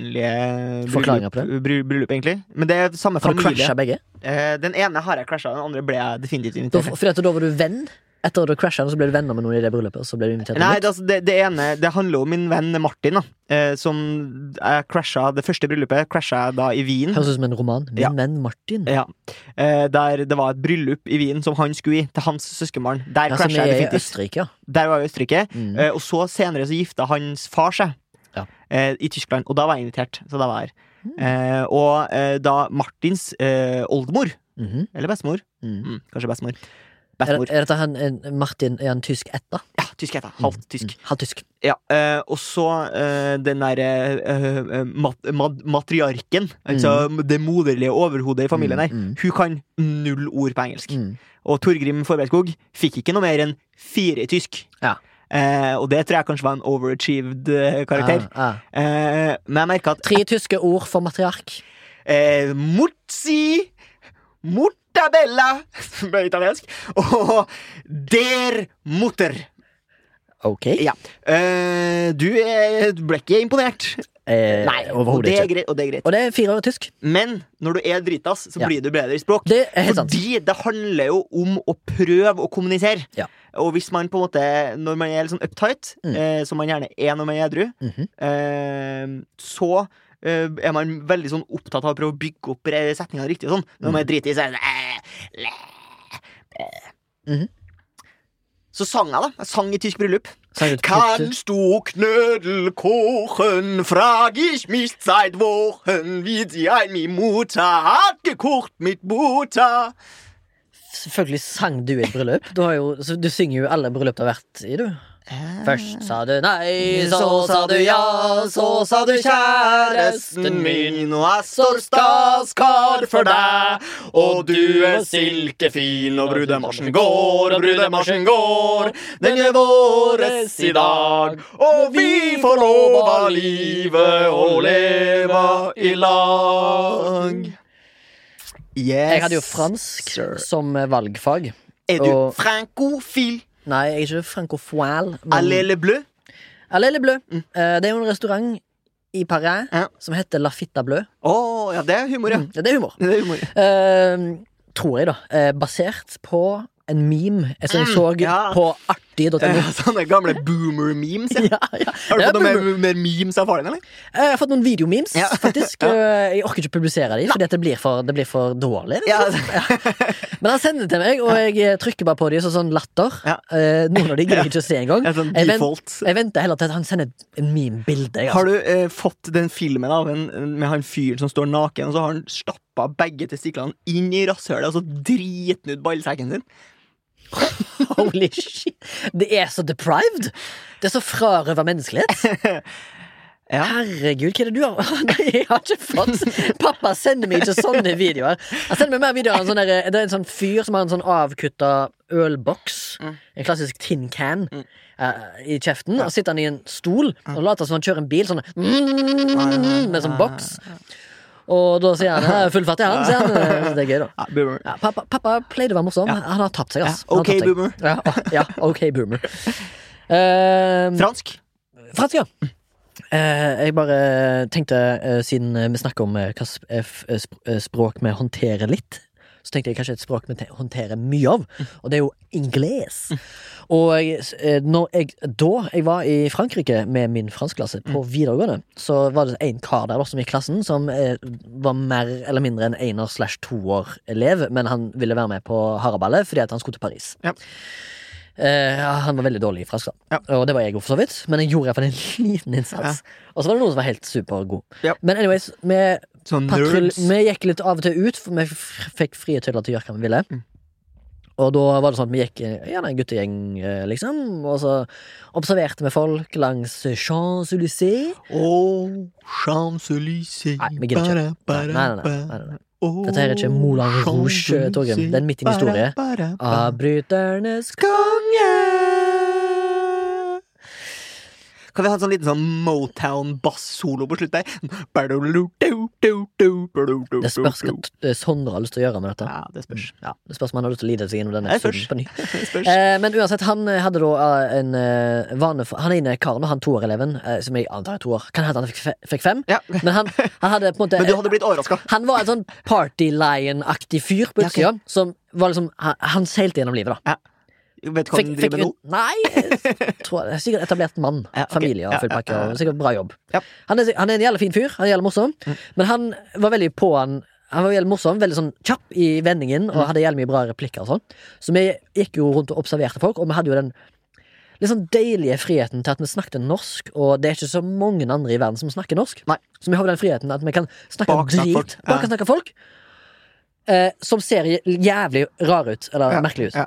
Speaker 2: usannsynlige
Speaker 1: Forklaringer
Speaker 2: bryllup,
Speaker 1: på
Speaker 2: bry- bryllup, egentlig. Men det er samme
Speaker 1: Har du
Speaker 2: familie.
Speaker 1: crasha begge?
Speaker 2: Eh, Den ene har jeg crasha, den andre ble jeg definitivt
Speaker 1: Da,
Speaker 2: invitert.
Speaker 1: fordi at da var du venn? Etter at du crasha, så ble du venner med noen i det bryllupet? Og så ble du invitert til
Speaker 2: Nei, det, altså, det, det ene Det handler om min venn Martin, da. eh, Som jeg crasha det første bryllupet crasha jeg da i Wien.
Speaker 1: nytt? Høres ut som en roman. Min
Speaker 2: Ja.
Speaker 1: venn Martin.
Speaker 2: Ja. Eh, Der det var et bryllup i Wien som han skulle i, til hans søskenbarn. Der
Speaker 1: Ja, som
Speaker 2: crasha
Speaker 1: er
Speaker 2: jeg
Speaker 1: i
Speaker 2: definitivt.
Speaker 1: Østerrike, ja.
Speaker 2: Der var jeg i Østerrike.
Speaker 1: Mm.
Speaker 2: Eh, og så senere så gifta hans far seg
Speaker 1: Ja. Mm.
Speaker 2: eh, i Tyskland, og da var jeg invitert. Så da var jeg her. Eh, og eh, da Martins eh, oldemor,
Speaker 1: Mhm.
Speaker 2: eller bestemor
Speaker 1: Mm.
Speaker 2: mm, Kanskje bestemor.
Speaker 1: Er,
Speaker 2: Bestemor.
Speaker 1: er dette han, en, Martin er han tysk etter?
Speaker 2: Ja, tysk heter jeg. Halvt tysk.
Speaker 1: Mm. Halvt tysk.
Speaker 2: Ja, eh, og så eh, den derre eh, eh, mat, mat, matriarken, altså det moderlige overhodet i familien her.
Speaker 1: Mm,
Speaker 2: Hun kan null ord på engelsk.
Speaker 1: mm.
Speaker 2: Og Torgrim Forbeskog fikk ikke noe mer enn fire i tysk.
Speaker 1: Ja.
Speaker 2: Eh, og det tror jeg kanskje var en overachieved eh, karakter.
Speaker 1: Ah, ah.
Speaker 2: Eh, men jeg merka at
Speaker 1: Tre tyske ord for matriark.
Speaker 2: eh, Mozzi, (laughs) Mortabella som er italiensk, og Der Mutter.
Speaker 1: Ok.
Speaker 2: Ja. Eh, du, er, du ble ikke imponert.
Speaker 1: Eh,
Speaker 2: og
Speaker 1: overhodet
Speaker 2: det, er
Speaker 1: ikke.
Speaker 2: greit, og det er greit.
Speaker 1: Og det er fire år tysk.
Speaker 2: Men når du er dritass, så
Speaker 1: Ja.
Speaker 2: blir du bedre i språk.
Speaker 1: Det er helt sant.
Speaker 2: Fordi det handler jo om å prøve å kommunisere.
Speaker 1: Ja.
Speaker 2: Og hvis man på en måte, når man er litt sånn uptight,
Speaker 1: Mm.
Speaker 2: eh, som man gjerne er når man er edru,
Speaker 1: Mhm.
Speaker 2: eh, så eh, er man veldig sånn opptatt av å prøve å bygge opp re- setningene riktig. og sånn Når
Speaker 1: Mm.
Speaker 2: man er dritig, så er det eh, le, eh.
Speaker 1: Mhm.
Speaker 2: Så sang jeg, da. Jeg sang i tysk bryllup.
Speaker 1: Sang ut på tysk.
Speaker 2: Kannst du Knödel kochen? Frag ich mich seit Wochen, wie sie eine Mutter hat gekocht mit Butter.
Speaker 1: Selvfølgelig sang du i et bryllup. Du, har jo, så du synger jo alle bryllup du har vært i, du. Først sa du nei, Mm, så sa du ja, så sa du kjæresten min.
Speaker 2: og jeg står statskar for deg. Og du er silkefin, og brudemarsjen går, og brudemarsjen går. Den er våres i dag, og vi får lov av livet å leve i lag. Yes.
Speaker 1: Jeg hadde jo fransk
Speaker 2: sir.
Speaker 1: som eh, valgfag.
Speaker 2: Er du
Speaker 1: og-
Speaker 2: frankofil?
Speaker 1: Nei, jeg er ikke francofoil.
Speaker 2: Allez le bleu?
Speaker 1: Allé le Bleu. Eh, Det er jo en restaurant i Paris
Speaker 2: Ja.
Speaker 1: som heter La Fitta Bleu.
Speaker 2: Å, ja, det er humor, ja.
Speaker 1: Ja, det er humor.
Speaker 2: Det er humor. ja.
Speaker 1: Eh, tror jeg, da. Eh, basert på en meme jeg- som jeg så
Speaker 2: ja.
Speaker 1: på 40.no. (laughs)
Speaker 2: Eh, (laughs) Sånne gamle boomer-memes. Ja.
Speaker 1: Ja, ja.
Speaker 2: Har du
Speaker 1: Det er
Speaker 2: fått noe
Speaker 1: boomer.
Speaker 2: mer, mer memes av faren din, eller?
Speaker 1: Eh, Jeg har fått noen videomemes,
Speaker 2: Ja.
Speaker 1: faktisk. Eh, Jeg orker ikke å publisere dem, fordi at det blir for, det blir for dårlig. liksom.
Speaker 2: Ja, (laughs)
Speaker 1: Men han sender det til meg, og jeg trykker bare på dem som sånn latter.
Speaker 2: Ja.
Speaker 1: Eh, Noen av dem gidder jeg ikke å se
Speaker 2: (laughs)
Speaker 1: engang.
Speaker 2: en sånn
Speaker 1: Jeg vent-
Speaker 2: default.
Speaker 1: Jeg venter heller til at han sender en meme-bilde. jeg, altså.
Speaker 2: Har du eh, fått den filmen av en, med han fyren som står naken, og så har han stappa begge testiklene inn i rasshølet, og så driter han ut ballsekken sin?
Speaker 1: altså. (laughs) Holy shit. Det er så deprived! Det er så frarøva menneskelighet.
Speaker 2: (laughs) Ja.
Speaker 1: Herregud, hva er det du har (laughs) Nei, jeg har ikke fått Pappa sender meg ikke sånne videoer. Han sender meg mer videoer av en sånn der, Det er en sånn fyr som har en sånn avkutta ølboks.
Speaker 2: Mm.
Speaker 1: En klassisk tin can.
Speaker 2: Mm.
Speaker 1: eh, I kjeften, og sitter han i en stol og later som han kjører en bil, sånn med sånn boks. Og da sier han «Jeg er full fattig, han.
Speaker 2: (laughs)
Speaker 1: Sier han. Så det er gøy, da.
Speaker 2: Ja, boomer.
Speaker 1: Ja, pappa, pappa pleide å være morsom. Han har tapt seg, ass.
Speaker 2: Ja,
Speaker 1: Han har
Speaker 2: ok,
Speaker 1: tapt seg.
Speaker 2: boomer.
Speaker 1: Ja, å- ja, ok,
Speaker 2: (laughs)
Speaker 1: boomer. Eh,
Speaker 2: Fransk.
Speaker 1: Fransk, ja. Eh, jeg bare tenkte, eh, siden eh, vi snakker om eh, hva sp- eh, f- eh, sp- eh, språk vi håndterer litt, så tenkte jeg kanskje et språk vi te- håndterer mye av, og det er jo ingles. Og jeg, s- eh, når jeg, da jeg var i Frankrike med min franskklasse på videregående, så var det en kar der da, som i klassen som eh, var mer eller mindre en einer slash toer-elev, men han ville være med på haraballet fordi at han skulle til Paris.
Speaker 2: Ja.
Speaker 1: Eh, han var veldig dårlig i fransk, da. og det var jeg òg, for så vidt. Men jeg gjorde iallfall en liten innsats. Og så var det noen som var helt supergod.
Speaker 2: Ja.
Speaker 1: Men anyways, vi,
Speaker 2: Sånn
Speaker 1: patrul,
Speaker 2: nerds.
Speaker 1: vi gikk litt av og til ut, for vi f- fikk frie tøyler til å gjøre hva vi ville.
Speaker 2: Mm.
Speaker 1: Og da var det sånn at vi gikk eh, gjerne en guttegjeng, eh, liksom. Og så observerte vi folk langs Champs-Élysées.
Speaker 2: Oh, Champs-Élysées
Speaker 1: Nei, vi gidder ikke. Nei,
Speaker 2: Bara,
Speaker 1: nei,
Speaker 2: bara,
Speaker 1: nei, nei,
Speaker 2: bara.
Speaker 1: nei.
Speaker 2: Oh,
Speaker 1: Dette her er ikke Moulin Rouge, eh,
Speaker 2: Champs-Élysées.
Speaker 1: Torgrim. Det er en midt i en historie.
Speaker 2: Bara, bara, bara.
Speaker 1: Avbryternes
Speaker 2: konge. Kan vi ha en sånn liten sånn Motown-bass-solo på slutt der?
Speaker 1: Det
Speaker 2: Det
Speaker 1: spørs hva t- Sondre har lyst til å gjøre med dette.
Speaker 2: Ja, det spørs.
Speaker 1: Ja, det spørs om han har lyst til å lide seg gjennom denne
Speaker 2: Nei,
Speaker 1: episoden
Speaker 2: først.
Speaker 1: på ny.
Speaker 2: (laughs) Det spørs.
Speaker 1: Eh, men uansett, han eh, hadde da eh, en eh, vane for Han ene karen, og han toåreleven, eh, som jeg antar er toår, kan hende han fikk, fe fikk fem.
Speaker 2: Ja.
Speaker 1: Men han, han hadde på en måte
Speaker 2: (laughs) Men du hadde blitt overraska.
Speaker 1: Han var en sånn party lion-aktig fyr på
Speaker 2: Ja, ok.
Speaker 1: utsida, som var liksom Han, han seilte gjennom livet, da.
Speaker 2: Vet du hva den driver med nå?
Speaker 1: ut- Nei, jeg
Speaker 2: (laughs)
Speaker 1: tror, jeg er sikkert etablert mann.
Speaker 2: Ja, ok.
Speaker 1: Familie og
Speaker 2: Ja,
Speaker 1: full
Speaker 2: ja,
Speaker 1: pakke.
Speaker 2: ja, ja.
Speaker 1: og Sikkert bra jobb.
Speaker 2: Ja. Mm.
Speaker 1: Han, er, han er en jævla fin fyr, han er jævla morsom, men han var veldig på han. Han var veldig morsom, veldig sånn kjapp i vendingen
Speaker 2: Mm.
Speaker 1: og hadde jævlig mye bra replikker. og sånn Så vi gikk jo rundt og observerte folk, og vi hadde jo den litt sånn deilige friheten til at vi snakket norsk, og det er ikke så mange andre i verden som snakker norsk.
Speaker 2: Nei.
Speaker 1: Så vi har jo den friheten at vi kan snakke om
Speaker 2: Baksnakke
Speaker 1: drit.
Speaker 2: folk.
Speaker 1: Folk. Bare
Speaker 2: Ja.
Speaker 1: kan snakke folk eh, som ser jævlig rare ut, eller merkelige ut.
Speaker 2: Ja.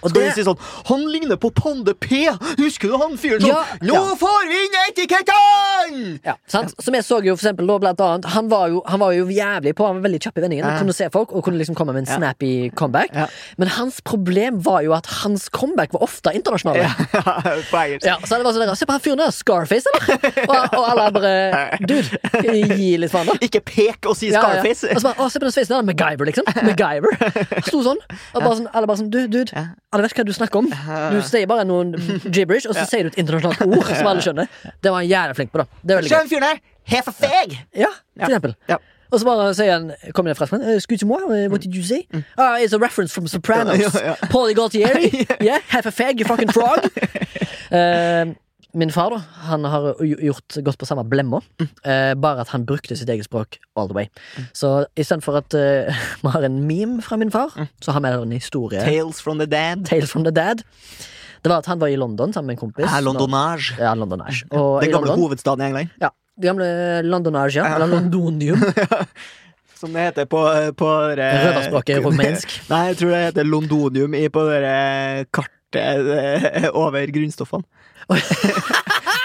Speaker 1: Og
Speaker 2: Skal vi si sånn Han ligner på Pande P! Husker du han fyren som
Speaker 1: Ja,
Speaker 2: Nå
Speaker 1: ja.
Speaker 2: får vi inn etikettene!
Speaker 1: Ja, sant? Som jeg så jo for eksempel da, blant annet, han var, jo, han var jo jævlig på, han var veldig kjapp i vendingen.
Speaker 2: Ja.
Speaker 1: Kunne se folk og kunne liksom komme med en snappy comeback.
Speaker 2: Ja.
Speaker 1: Men hans problem var jo at hans comeback var ofte internasjonale. Ja.
Speaker 2: (laughs) på engelsk.
Speaker 1: så det var sånn der, Se på han fyren der! Scarface, eller? Og, og alle bare
Speaker 2: (laughs)
Speaker 1: Dude, gi litt faen, da.
Speaker 2: Ikke pek og si
Speaker 1: Ja, ja.
Speaker 2: Scarface.
Speaker 1: Og så bare, å, se på den sveisen der, MacGyver, liksom. MacGyver. Sto sånn. Og bare sånn, alle bare sånn, du, dude,
Speaker 2: Ja.
Speaker 1: alle vet hva du snakker om. Du sier bare noen gibberish, og så sier du et internasjonalt ord som alle skjønner. Det var han jævla flink på, da. Det er veldig gøy.
Speaker 2: Skjønn fyren her! Helt for feg!
Speaker 1: Ja, for eksempel.
Speaker 2: Ja.
Speaker 1: Og så bare sier han Kom igjen, franskmann. eh, Excuse moi, eh, what did you say? Ah, it's a reference from Sopranos.
Speaker 2: Mm. Ja,
Speaker 1: (laughs)
Speaker 2: ja, (laughs) ja.
Speaker 1: Paulie Gaultieri. yeah, half a fag, you fucking
Speaker 2: (laughs)
Speaker 1: frog. Eh, min far, da, han har jo gjort gått på samme blemma.
Speaker 2: Mm.
Speaker 1: eh, bare at han brukte sitt eget språk all the way. Så istedenfor at eh, (laughs) vi har en meme fra min
Speaker 2: Mm.
Speaker 1: far, så har vi en historie.
Speaker 2: Tales from the dead.
Speaker 1: Tale from the dad. Det var at han var i London sammen med en kompis.
Speaker 2: Er Londonage.
Speaker 1: Ja, London Ash. Og i
Speaker 2: Den gamle
Speaker 1: London,
Speaker 2: hovedstaden i England.
Speaker 1: ja, det gamle Londonage, ja. Eller Londonium.
Speaker 2: Som det heter på, på eh,
Speaker 1: Røverspråket
Speaker 2: (laughs)
Speaker 1: rumensk.
Speaker 2: Nei, jeg tror det heter Londonium i på det eh, kartet eh, over
Speaker 1: (laughs)
Speaker 2: grunnstoffene.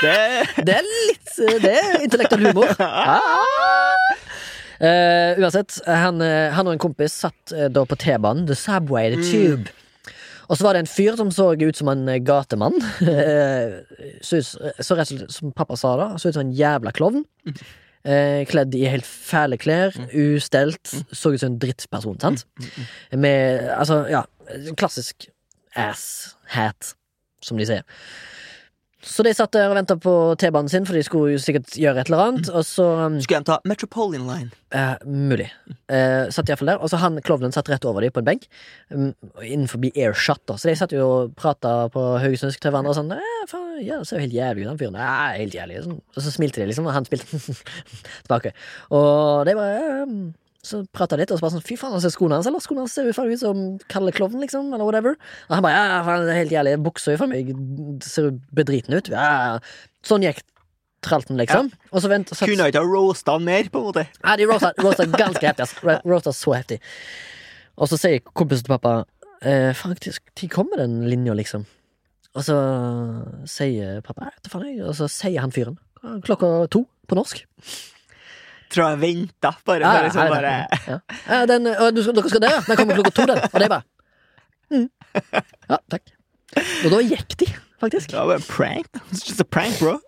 Speaker 2: det
Speaker 1: Det er litt eh, Det er intellektuell humor. Eh, uansett, han, eh, han og en kompis satt eh, da på T-banen, The Subway, The Tube. Og så var det en fyr som så ut som en eh, gatemann. (laughs) Eh, så, ut, så rett og slett, som pappa sa da, så ut som en jævla klovn. Eh, kledd i helt fæle klær, ustelt, så ut som en drittperson, sant? Med altså, ja, klassisk ass hat, som de sier. Så de satt der og venta på T-banen sin, for de skulle jo sikkert gjøre et eller annet. Og så um,
Speaker 2: Skulle gjerne ta Metropolitan Line.
Speaker 1: eh, Mulig. Eh, satt i hvert fall der. Og så han klovnen satt rett over dem på en benk. Um, innenfor airshot, da. Så de satt jo og prata på haugesundsk til hverandre og sånn. «Eh, faen, Ja, det ser jo helt jævlig ut, han fyren. Ja, helt jævlig. Sånn. Og så smilte de, liksom, og han spilte (laughs) tilbake. Og de bare «Ja, um, så prata litt, og så bare sånn Fy faen, han ser skoene hans, eller? Skoene hans ser jo faen meg ut som Kalle Klovn, liksom, eller whatever. Og han bare ja, faen, det er helt jævlig. Buksa jo faen meg ser jo bedriten ut. Ja. Sånn gikk tralten, liksom. Og så vent, satt,
Speaker 2: Kunne ikke ha roasta han mer, på en måte.
Speaker 1: ja, de roasta, roasta ganske heftig. ass. Ro- Roasta så heftig. Og så sier kompisen til pappa eh, Faen, når kommer den linja, liksom? Og så sier pappa «Jeg vet da faen jeg», Og så sier han fyren klokka to på norsk.
Speaker 2: Tror jeg venta, bare.
Speaker 1: Ja,
Speaker 2: bare, sånn,
Speaker 1: ja,
Speaker 2: bare.
Speaker 1: ja, ja. Ja, den, og du, skal- dere skal dø, den kommer klokka to, den. Og det er bare mm. Ja, takk. Og da gikk de, faktisk.
Speaker 2: Det var bare en prank. da. It's just a prank, bro.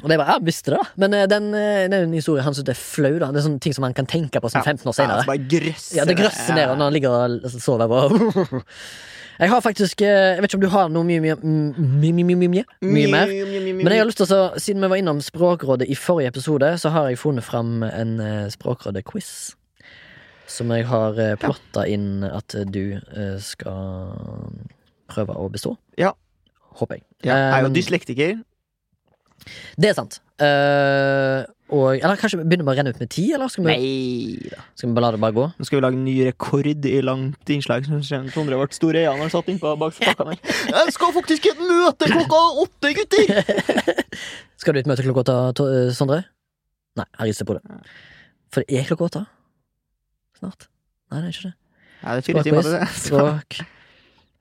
Speaker 1: Og det er bare, ja, visste det, da. Men eh, den, eh, det er jo en historie han synes det er flau. da Det er sånne ting som han kan tenke på som 15 år
Speaker 2: Ja,
Speaker 1: senere.
Speaker 2: så bare grøsser
Speaker 1: Ja, det grøsser ned når han ligger og altså, sover. På. (laughs) Jeg har faktisk eh, Jeg vet ikke om du har noe mye, mye, mye, mye, mye, mye, mye mer. Men jeg har lyst til å, så- siden vi var innom Språkrådet i forrige episode, så har jeg funnet fram en eh, Språkrådet-quiz. Som jeg har eh, plotta inn at eh, du eh, skal prøve å bestå.
Speaker 2: Ja.
Speaker 1: Håper jeg.
Speaker 2: ja, Jeg er
Speaker 1: Eh,
Speaker 2: jo dyslektiker.
Speaker 1: Det er sant. Eh, og, eller kanskje vi begynner med å renne ut med tid, eller skal vi,
Speaker 2: Nei da.
Speaker 1: skal vi bare la det bare gå?
Speaker 2: Nå skal vi lage en ny rekord i langt innslag. som skjer. Sondre ble store øyne har satt innpå (laughs) bak spakka mi. Jeg skal faktisk i et møte klokka åtte, gutter!
Speaker 1: Skal du ut møte klokka åtte, To- eh, Sondre? Nei, han rister på det. For det er klokka åtte. Snart. Nei, det er ikke det.
Speaker 2: Ja, det er fire timer til det. (laughs) Så-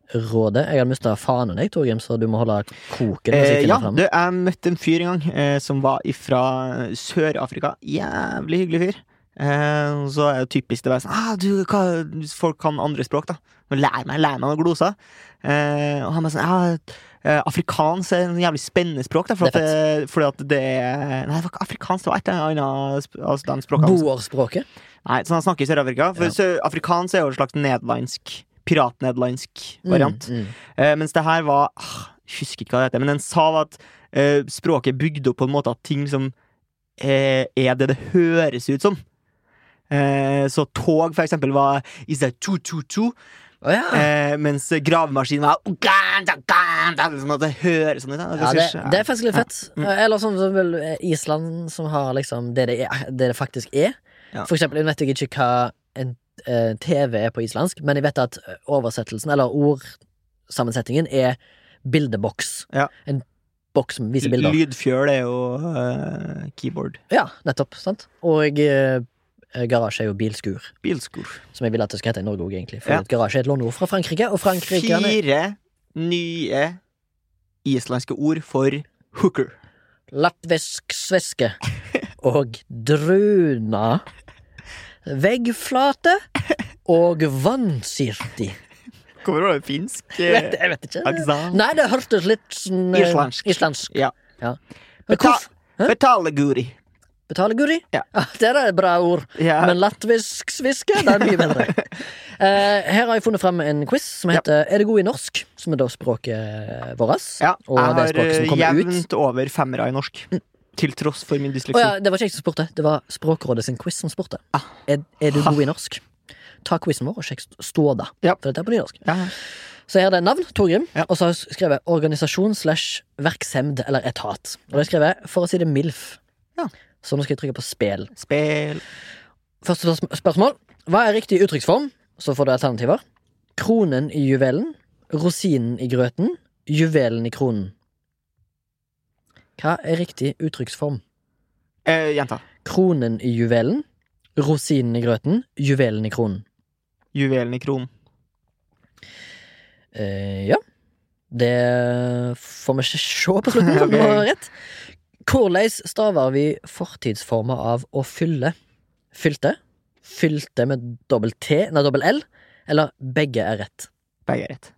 Speaker 1: Språkrådet. Jeg hadde mista fanen, jeg, Torgrim, så du må holde koken. Hvis
Speaker 2: Eh,
Speaker 1: jeg
Speaker 2: ja,
Speaker 1: finner frem.
Speaker 2: du, jeg møtte en fyr en gang eh, som var ifra Sør-Afrika. Jævlig hyggelig fyr. Eh, og så er det typisk det bare sånn ah, du, hva, Folk kan andre språk, da. Nå Lær meg lær meg noen gloser. Eh, og han bare sånn ja, eh, Afrikansk er en jævlig spennende språk, da, for
Speaker 1: Det er
Speaker 2: at, eh, fordi at det er Nei, det var ikke afrikansk, det var et eller annet sp- altså, de språkene.
Speaker 1: Boerspråket.
Speaker 2: Nei, så han snakker i Sør-Afrika. For
Speaker 1: Ja.
Speaker 2: sø- afrikansk er jo en slags nederlandsk, piratnederlandsk variant.
Speaker 1: Mm, mm.
Speaker 2: Eh, mens det her var ah, Jeg husker ikke hva det heter, men den sa at eh, språket er bygd opp på en måte at ting som eh, er det det høres ut som. Eh, så tog, for eksempel, var Is that two, two, two?
Speaker 1: Å ja.
Speaker 2: Eh, mens gravemaskinen var Uganda, Uganda, Sånn at det høres sånn ut. da.
Speaker 1: Ja, det,
Speaker 2: synes jeg-
Speaker 1: det er faktisk litt fett.
Speaker 2: Mm.
Speaker 1: Eller sånn som vel eh, Island, som har liksom det det, er, det, det faktisk er.
Speaker 2: Ja.
Speaker 1: For eksempel, jeg vet jeg ikke hva en eh, TV er på islandsk, men jeg vet at oversettelsen, eller ordsammensetningen, er bildeboks.
Speaker 2: Ja.
Speaker 1: En boks som viser bilder.
Speaker 2: Lydfjøl er jo eh, keyboard.
Speaker 1: Ja, nettopp. sant? Og eh, garasje er jo bilskur,
Speaker 2: Bilskor.
Speaker 1: som jeg ville at det skulle hete i Norge òg, egentlig. For
Speaker 2: Ja.
Speaker 1: at garasje er et låneord fra Frankrike, og Frankrike er
Speaker 2: Fire nye islandske ord for hooker.
Speaker 1: Latvisk sveske og druna. Veggflate og vannsirti.
Speaker 2: Eh, Kommer det fra finsk?
Speaker 1: Jeg
Speaker 2: eh,
Speaker 1: vet, jeg vet ikke.
Speaker 2: Aksent.
Speaker 1: Nei, det hørtes litt sånn eh,
Speaker 2: Islandsk.
Speaker 1: islandsk.
Speaker 2: Ja.
Speaker 1: Men
Speaker 2: Beta
Speaker 1: hvorf- Hæ?
Speaker 2: Betaleguri.
Speaker 1: Betaleguri?
Speaker 2: Ja.
Speaker 1: Det er et bra ord.
Speaker 2: Ja.
Speaker 1: Men latvisk sviske, det er mye bedre.
Speaker 2: (laughs)
Speaker 1: Eh, her har jeg funnet frem en quiz som
Speaker 2: Ja.
Speaker 1: heter Er det god i norsk? Som er da språket vårt.
Speaker 2: ja,
Speaker 1: Og det
Speaker 2: jeg
Speaker 1: språket som
Speaker 2: har eh,
Speaker 1: kommer ut.
Speaker 2: jevnt over femmere i norsk. Til tross for min
Speaker 1: Å
Speaker 2: dysleksi.
Speaker 1: ja, det var ikke jeg som spurte. Det var Språkrådet sin quiz som spurte.
Speaker 2: Ah.
Speaker 1: Er, er du god i norsk? Ta quizen vår og sjekk st- ståda.
Speaker 2: Ja.
Speaker 1: For dette er på nynorsk.
Speaker 2: Ja.
Speaker 1: Så her er det navn, Torgrim,
Speaker 2: Ja.
Speaker 1: og så har jeg skrevet organisasjon slash verksemd eller etat. Og da har jeg skrevet, for å si det MILF.
Speaker 2: Ja.
Speaker 1: Så nå skal jeg trykke på spel.
Speaker 2: Spel
Speaker 1: Første spørsm- spørsmål. Hva er riktig uttrykksform? Så får du alternativer. Kronen i juvelen. Rosinen i grøten. Juvelen i kronen. Hva er riktig uttrykksform?
Speaker 2: eh, Gjenta.
Speaker 1: Kronen i juvelen, rosinen i grøten, juvelen i kronen.
Speaker 2: Juvelen i kronen.
Speaker 1: Eh, ja. Det får vi ikke se på
Speaker 2: (laughs)
Speaker 1: slutten, om det var rett. Hvordan staver vi fortidsformer av å fylle? Fylte? Fylte med dobbel T, nei, dobbel L? Eller begge er rett?
Speaker 2: Begge er rett.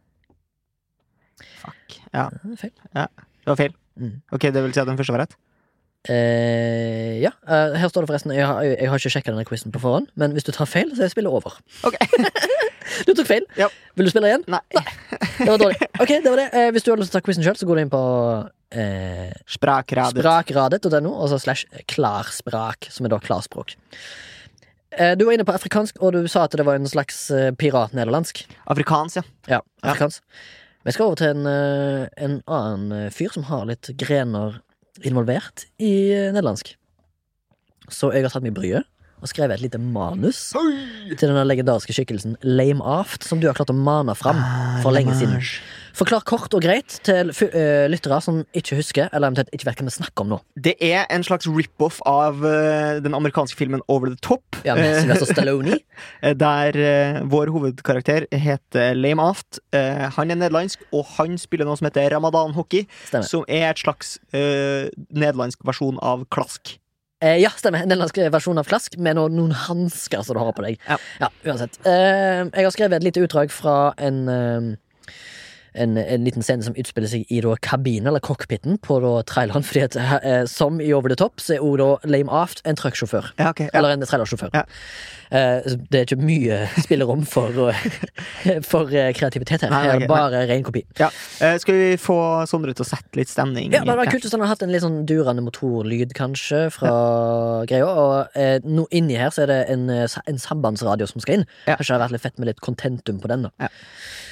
Speaker 2: Fuck. Ja,
Speaker 1: Eh, Feil.
Speaker 2: det var feil.
Speaker 1: Mm.
Speaker 2: Ok, Det vil si at den første var rett?
Speaker 1: Eh, ja, eh, her står det forresten Jeg har, jeg har ikke sjekka denne quizen på forhånd, men hvis du tar feil, så er spillet over.
Speaker 2: Ok.
Speaker 1: (laughs) du tok feil.
Speaker 2: Ja.
Speaker 1: Vil du spille igjen?
Speaker 2: Nei.
Speaker 1: (laughs) Det var dårlig. Ok, det var det. Eh, hvis du har lyst til å ta quizen sjøl, så går du inn på eh,
Speaker 2: Sprakradet.
Speaker 1: sprakradet.no, og så slash klarsprak, som er da klarspråk. Eh, Du var inne på afrikansk, og du sa at det var en slags eh, piratnederlandsk.
Speaker 2: Afrikansk, ja.
Speaker 1: Ja, afrikansk. Vi skal over til en, eh, en annen eh, fyr som har litt grener involvert i eh, nederlandsk. Så jeg har tatt meg bryet og skrevet et lite manus til den legendariske skikkelsen Lame Aft, som du har klart å mane fram for lenge siden. Forklar kort og greit til fu- eh, lyttere som ikke husker, eller eventuelt ikke vet hva vi snakker om nå.
Speaker 2: Det er en slags rip-off av eh, den amerikanske filmen Over the Top.
Speaker 1: Ja, med Sylvester Stallone.
Speaker 2: eh, der eh, vår hovedkarakter heter Lame Aft. Eh, han er nederlandsk, og han spiller noe som heter ramadan hockey,
Speaker 1: Stemmer.
Speaker 2: (laughs) som er et slags eh, nederlandsk versjon av klask.
Speaker 1: Eh, ja, stemmer. En nederlandsk versjon av Klask med noen, noen hansker som du har på deg.
Speaker 2: Ja.
Speaker 1: uansett. Eh, jeg har skrevet et lite utdrag fra en, eh, en, en liten scene som utspiller seg i da, kabinen, eller cockpiten, på da, traileren. Fordi at, eh, som i Over the Top, så er også da Lame Aft en trucksjåfør.
Speaker 2: Ja, ok. Ja.
Speaker 1: Eller en trailersjåfør.
Speaker 2: Ja.
Speaker 1: Eh, så det er ikke mye spillerom for, å- for eh, kreativitet her.
Speaker 2: Nei, nei,
Speaker 1: Her er
Speaker 2: ok,
Speaker 1: det bare ren kopi.
Speaker 2: Ja. Eh, skal vi få Sondre til å sette litt stemning?
Speaker 1: Ja, men det var kult hvis han hadde hatt en litt sånn durende motorlyd, kanskje, fra greia. Og eh, nå inni her så er det en, eh, sa- en sambandsradio som skal inn.
Speaker 2: Ja.
Speaker 1: Kanskje det hadde vært litt fett med litt contentum på den, da.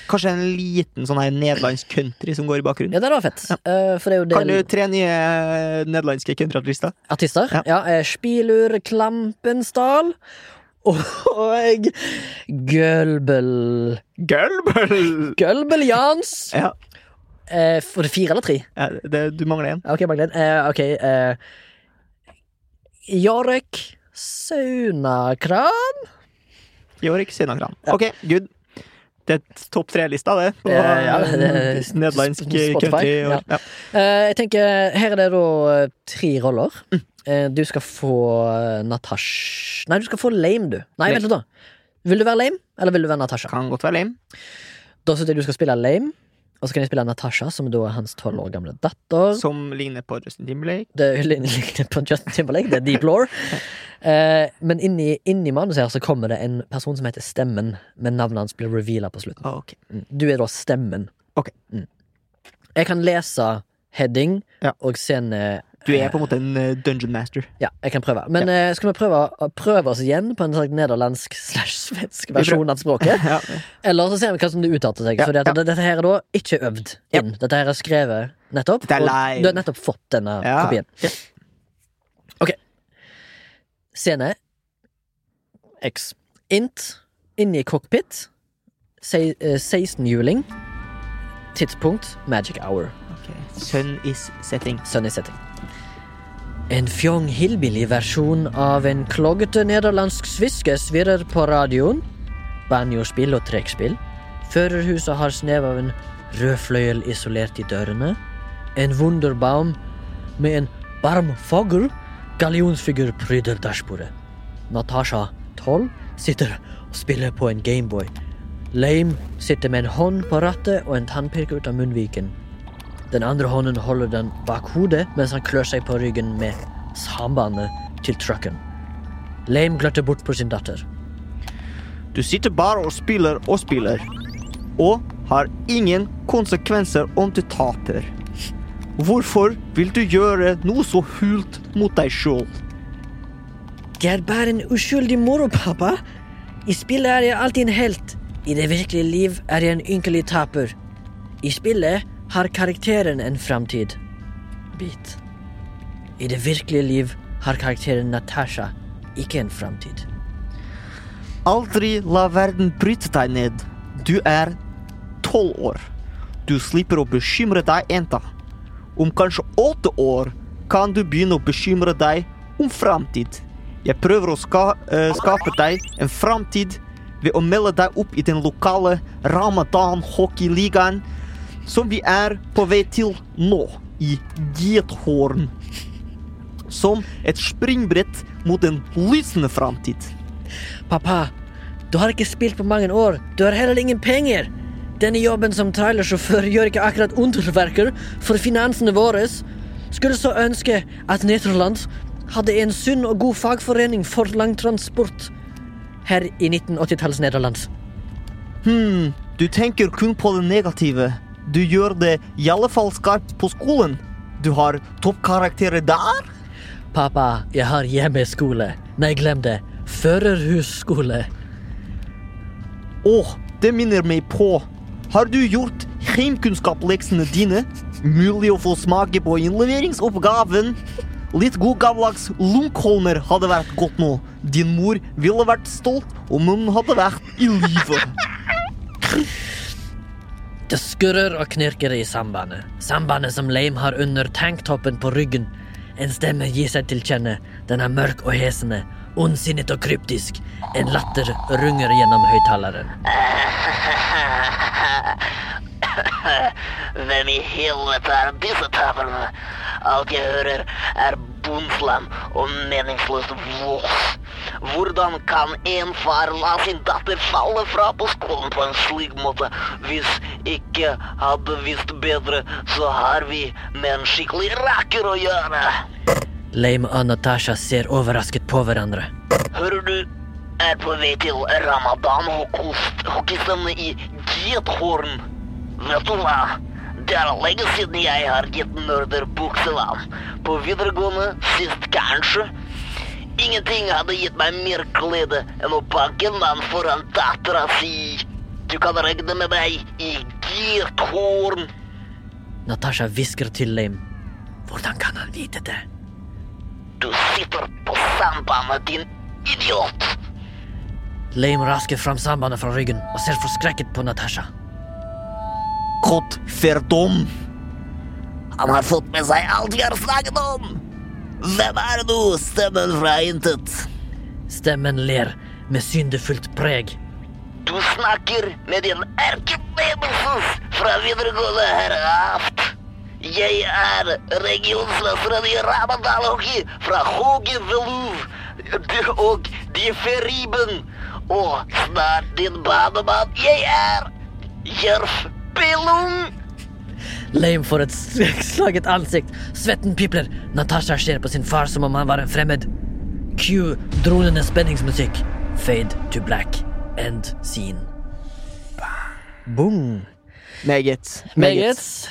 Speaker 2: Kanskje en liten sånn her nederlandsk country som går i bakgrunnen?
Speaker 1: Ja, det hadde vært fett. Eh, for det er jo
Speaker 2: Kan du
Speaker 1: det
Speaker 2: tre nye eh, nederlandske countryartister?
Speaker 1: artister.
Speaker 2: Ja.
Speaker 1: Ja. eh, Spilur Klampensdal. Og Gølbel
Speaker 2: Gulbel!
Speaker 1: Gølbel Jans!
Speaker 2: Ja,
Speaker 1: Eh, for det er fire eller tre?
Speaker 2: ja, det, du mangler en.
Speaker 1: Ja, Ok, Magdalene. Eh, ok. Eh, Jarek Saunakran.
Speaker 2: Jorik Sinakran. Ok, good. Det er topp tre-lista, det. På
Speaker 1: Ja, ja, det er-
Speaker 2: eh, nederlandsk
Speaker 1: Spotify,
Speaker 2: country. i år.
Speaker 1: ja.
Speaker 2: Ja.
Speaker 1: Eh, jeg tenker, Her er det da eh, tre roller. Eh, du skal få eh, Natasj... Nei, du skal få lame, du. Nei,
Speaker 2: Lame.
Speaker 1: vent litt, da. Vil du være lame, eller vil du være Natasja?
Speaker 2: Kan godt være lame.
Speaker 1: Da synes jeg du skal spille lame, og så kan jeg spille Natasja, som da er hans tolv år gamle datter.
Speaker 2: Som ligner på Justin Timberlake.
Speaker 1: Det er- ligner på Justin Timberlake, det er deep law. Eh, men inni, inni manuset her så kommer det en person som heter Stemmen, men navnet hans blir reveala på slutten.
Speaker 2: Ok.
Speaker 1: Mm. Du er da stemmen.
Speaker 2: Ok.
Speaker 1: Mm. Jeg kan lese heading
Speaker 2: Ja.
Speaker 1: og scene
Speaker 2: Du er på en måte en eh, dungeon master.
Speaker 1: Ja, jeg kan prøve. Men eh, skal vi prøve, prøve oss igjen på en slags nederlandsk slash svensk versjon av språket?
Speaker 2: (laughs) Ja.
Speaker 1: Eller så ser vi hva som det uttalte seg.
Speaker 2: Ja,
Speaker 1: For
Speaker 2: ja.
Speaker 1: dette her er da ikke øvd
Speaker 2: Ja.
Speaker 1: inn. Dette her er skrevet nettopp.
Speaker 2: Dette er live.
Speaker 1: Og du har nettopp fått denne
Speaker 2: Ja.
Speaker 1: kopien. Ok. Scene X. Int inni cockpit. Se- eh, 16-hjuling. Tidspunkt magic hour.
Speaker 2: Sun is setting.
Speaker 1: Sunny setting. En fjong hillbilly-versjon av en kloggete nederlandsk sviske svirrer på radioen. Banjospill og trekkspill. Førerhuset har snev av en rødfløyel isolert i dørene. En wunderbaum med en varm fogl. Gallionsfigur pryder dashbordet. Natasha, 12, sitter og spiller på en Gameboy. Lame sitter med en hånd på rattet og en tannpirker ut av munnviken. Den andre hånden holder den bak hodet mens han klør seg på ryggen med sambandet til trucken. Lame gløtter bort på sin datter.
Speaker 2: Du sitter bare og spiller og spiller. Og har ingen konsekvenser om du taper. Hvorfor vil du gjøre noe så hult mot deg sjøl?
Speaker 1: Det er bare en uskyldig moro, pappa. I spillet er jeg alltid en helt. I det virkelige liv er jeg en ynkelig taper. I spillet har karakteren en framtid. Bit. I det virkelige liv har karakteren Natasha ikke en framtid.
Speaker 2: Aldri la verden bryte deg ned. Du er tolv år. Du slipper å bekymre deg ennå. Om kanskje åtte år kan du begynne å bekymre deg om framtid. Jeg prøver å ska eh, skape deg en framtid ved å melde deg opp i den lokale Ramadan hockeyligaen som vi er på vei til nå, i Gethorn. Som et springbrett mot en lysende framtid.
Speaker 1: Pappa, du har ikke spilt på mange år. Du har heller ingen penger. Denne jobben som trailersjåfør gjør ikke akkurat underverker for finansene våre. Skulle så ønske at Nederland hadde en sunn og god fagforening for langtransport her i 1980-tallets Nederland.
Speaker 2: Hmm, du tenker kun på det negative. Du gjør det i alle fall skarpt på skolen. Du har toppkarakterer der?
Speaker 1: Pappa, jeg har hjemmeskole. Nei, glem det. Førerhusskole.
Speaker 2: Åh, det minner meg på. Har du gjort heimkunnskapsleksene dine? Mulig å få smake på innleveringsoppgaven? Litt god gammeldags Lunkholmer hadde vært godt nå. Din mor ville vært stolt om hun hadde vært i (laughs) live.
Speaker 1: Det skurrer og knirker i sambandet. Sambandet som Leim har under tanktoppen på ryggen. En stemme gir seg til kjenne. Den er mørk og hesende. Ondsinnet og kryptisk. En latter runger gjennom høyttaleren.
Speaker 3: (laughs) Hvem i helvete er disse tavlene? Alt jeg hører er bunnslam og meningsløst vås. Hvordan kan en far la sin datter falle fra på skolen på en slik måte? Hvis ikke hadde visst bedre, så har vi med en skikkelig raker å gjøre.
Speaker 1: Leim og Natasha ser overrasket på hverandre.
Speaker 3: Hører du er på vei til ramadan og kost hockeystavene i Gethorn. Vet du hva? Det er lenge siden jeg har gitt nerder buksevann. På videregående sist, kanskje. Ingenting hadde gitt meg mer glede enn å banke en mann foran dattera si. Du kan regne med meg i Gethorn.
Speaker 1: Natasha hvisker til Leim. Hvordan kan han vite det?
Speaker 3: Du sitter på sambandet, din idiot.
Speaker 1: Leim rasker fram sambandet fra ryggen og ser forskrekket på Natasha.
Speaker 2: Godt ferdom.
Speaker 3: Han har fått med seg alt vi har snakket om. Hvem er du, stemmen fra intet?
Speaker 1: Stemmen ler med syndefullt preg.
Speaker 3: Du snakker med din erkenemesis fra videregående herre Aft. Jeg er regionsmesteren i Ramadalogi fra Hoge Veluv Du og Differiben. Og snart din bademann. Jeg er Jerf Billung.
Speaker 1: Leim får et slaget ansikt. Svetten pipler. Natasha ser på sin far som om han var en fremmed. Q. Dronende spenningsmusikk. Fade to black. End scene. Boom.
Speaker 2: Meget.
Speaker 1: Meget.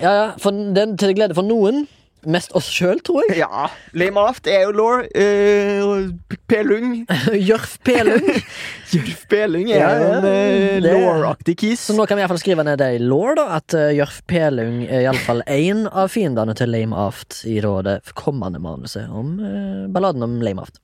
Speaker 1: Ja, ja. For den til glede for noen. Mest oss sjøl, tror (laughs) jeg.
Speaker 2: Ja. Lame Aft, Eolor, uh, Pelung
Speaker 1: Jørf Pelung.
Speaker 2: Jørf Pelung er
Speaker 1: Ja, ja,
Speaker 2: en uh,
Speaker 1: det-
Speaker 2: law-aktig kis.
Speaker 1: Så nå kan vi i hvert fall skrive ned det i law, da, at eh, Jørf Pelung er iallfall én av fiendene til Lame Aft i rådet for kommende manuset om eh, balladen om Lame Aft.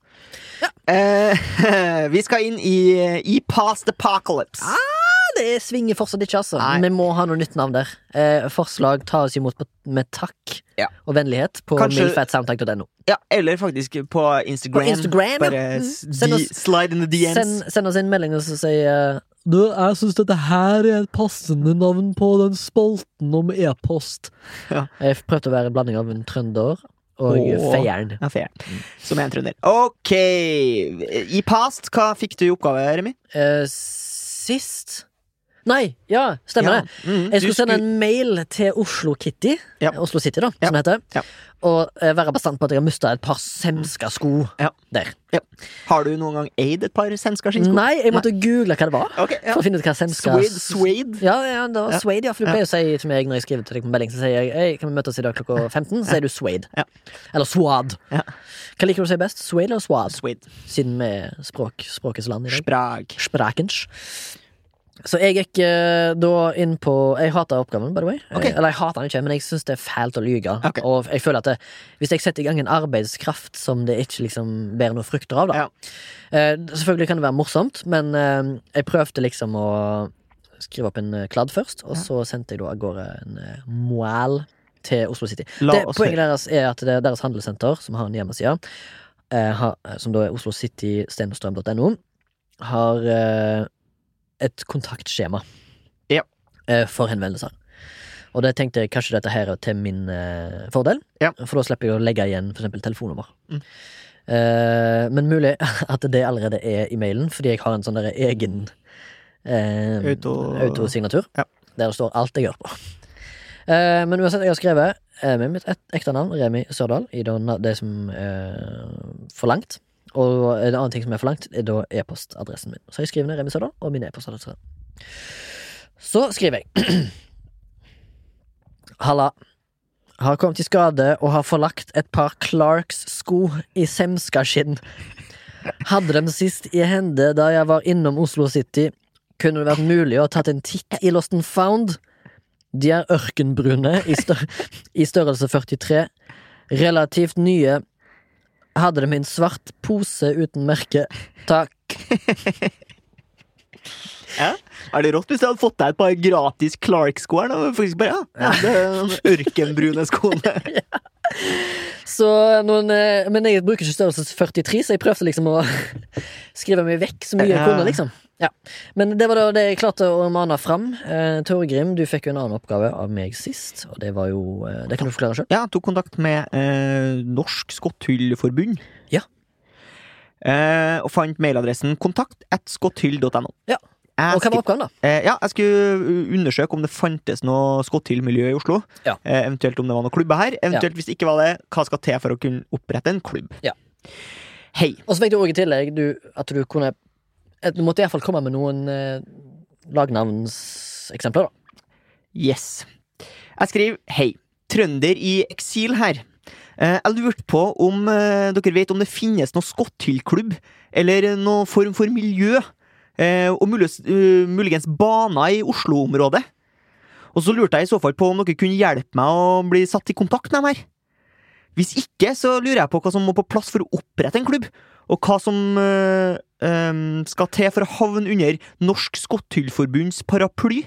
Speaker 2: Eh, (laughs) vi skal inn i, eh, i Past Apocalypse.
Speaker 1: Ah. Det svinger fortsatt ikke, altså.
Speaker 2: Nei.
Speaker 1: Vi må ha noe nytt navn der. Eh, forslag tas imot på- med takk
Speaker 2: Ja.
Speaker 1: og vennlighet på
Speaker 2: Kanskje-
Speaker 1: milfatsoundtank.no.
Speaker 2: Ja, eller faktisk på Instagram.
Speaker 1: På Instagram, ja.
Speaker 2: Bare s-
Speaker 1: Mm. Send
Speaker 2: de-
Speaker 1: oss-
Speaker 2: slide in the DMs.
Speaker 1: Send, send oss en melding og så si eh, du, jeg syns dette her er et passende navn på den spalten om e-post.
Speaker 2: Ja.
Speaker 1: Jeg prøvde å være en blanding av en trønder og
Speaker 2: Åh.
Speaker 1: feieren.
Speaker 2: Ja, fair.
Speaker 1: Mm.
Speaker 2: Som er en trønder. Ok. I Past, hva fikk du i oppgave, Remi?
Speaker 1: Eh, sist Nei, ja, stemmer
Speaker 2: Ja,
Speaker 1: det.
Speaker 2: mm,
Speaker 1: Jeg
Speaker 2: du
Speaker 1: skulle sende en mail til Oslo Kitty,
Speaker 2: Ja.
Speaker 1: eh, Oslo City da,
Speaker 2: Ja,
Speaker 1: som det heter,
Speaker 2: ja.
Speaker 1: og eh, være bastant på at jeg har mista et par semska sko
Speaker 2: Ja.
Speaker 1: der.
Speaker 2: Har du noen gang eid et par svenska skinnsko?
Speaker 1: Nei, jeg måtte google hva det var.
Speaker 2: Ok, ja.
Speaker 1: For å finne ut hva semska
Speaker 2: Suede, suede.
Speaker 1: Ja, ja, det var
Speaker 2: Ja.
Speaker 1: suede, ja, for du pleier å si til meg når jeg skriver til deg på melding, så sier jeg «Ei, kan vi møtes i dag klokka 15, så sier du suede.
Speaker 2: Ja.
Speaker 1: Eller suad.
Speaker 2: Ja.
Speaker 1: Hva liker du å si best? Suede eller suad?
Speaker 2: Suede.
Speaker 1: Siden vi er språk, språkets land i dag.
Speaker 2: Sprag.
Speaker 1: Sprakens. Så jeg gikk eh, da inn på Jeg hater oppgaven, by the way.
Speaker 2: Ok.
Speaker 1: Eh, Eller jeg hater den ikke, men jeg syns det er fælt å lyge.
Speaker 2: Ok.
Speaker 1: Og jeg føler at det, hvis jeg setter i gang en arbeidskraft som det ikke liksom bærer noen frukter av, da
Speaker 2: Ja.
Speaker 1: eh, Selvfølgelig kan det være morsomt, men eh, jeg prøvde liksom å skrive opp en eh, kladd først, og så sendte jeg da av gårde en eh, moal til Oslo City.
Speaker 2: La
Speaker 1: Det,
Speaker 2: oss
Speaker 1: poenget
Speaker 2: høre.
Speaker 1: deres er at det er deres handelssenter, som har en hjemmeside, eh, har, som da er oslocitystenstrøm.no, har eh, et kontaktskjema
Speaker 2: Ja.
Speaker 1: eh, for henvendelser. Og det tenkte jeg kanskje dette her er til min eh, fordel,
Speaker 2: Ja.
Speaker 1: for da slipper jeg å legge igjen for eksempel telefonnummer.
Speaker 2: Mm.
Speaker 1: Eh, men mulig (laughs) at det allerede er i mailen, fordi jeg har en sånn der egen eh,
Speaker 2: Auto-
Speaker 1: autosignatur.
Speaker 2: Ja.
Speaker 1: Der det står alt jeg gjør på. Eh, men uansett, jeg har skrevet eh, med mitt et- ekte navn, Remi Sørdal, i det, na- det som er forlangt. Og en annen ting som er forlangt, er da e-postadressen min. Så jeg skriver ned Remi Sørdal og min e-postadresse. Så skriver jeg Halla. har kommet i skade og har forlagt et par Clarks sko i semskaskinn. Hadde dem sist i hende da jeg var innom Oslo City. Kunne det vært mulig å ha tatt en titt i Lost and Found? De er ørkenbrune i, stør i størrelse 43. Relativt nye. Hadde dem i en svart pose uten merke. Takk.
Speaker 2: Er det rått hvis jeg hadde fått deg et par gratis Clark-sko her? da? Faktisk bare, ja, ja det er Ørkenbrune skoene.
Speaker 1: Så noen, eh, men jeg bruker ikke størrelse 43, så jeg prøvde liksom å (laughs) skrive meg vekk så mye jeg
Speaker 2: Ja.
Speaker 1: kunne. liksom ja. Men det var da det jeg klarte å mane fram. Eh, Torgrim, du fikk jo en annen oppgave av meg sist, og det var jo eh, Det kan du forklare sjøl.
Speaker 2: (laughs) Ja, tok kontakt med eh, Norsk Skotthyllforbund.
Speaker 1: Ja.
Speaker 2: Eh, og fant mailadressen kontakt at skotthyll.no.
Speaker 1: Ja.
Speaker 2: Jeg
Speaker 1: Og hva
Speaker 2: skri-
Speaker 1: var oppgaven, da?
Speaker 2: eh, ja, jeg skulle undersøke om det fantes noe skotthyllmiljø i Oslo.
Speaker 1: Ja.
Speaker 2: Eh, eventuelt om det var noen klubber her. Eventuelt hvis det ikke var det, hva skal til for å kunne opprette en klubb?
Speaker 1: Ja.
Speaker 2: Hei.
Speaker 1: Og så fikk du òg i tillegg du, at du kunne at Du måtte i hvert fall komme med noen eh, lagnavnseksempler, da.
Speaker 2: Yes. Jeg skriver hei. Trønder i eksil her. Eh, Jeg lurte på om eh, dere vet om det finnes noe skotthyllklubb eller noen form for miljø, eh, og muligens, eh, muligens baner i Oslo-området. Og så lurte jeg i så fall på om dere kunne hjelpe meg å bli satt i kontakt med dem her. Hvis ikke, så lurer jeg på hva som må på plass for å opprette en klubb, og hva som eh, em, skal til for å havne under Norsk Skotthyllforbunds paraply.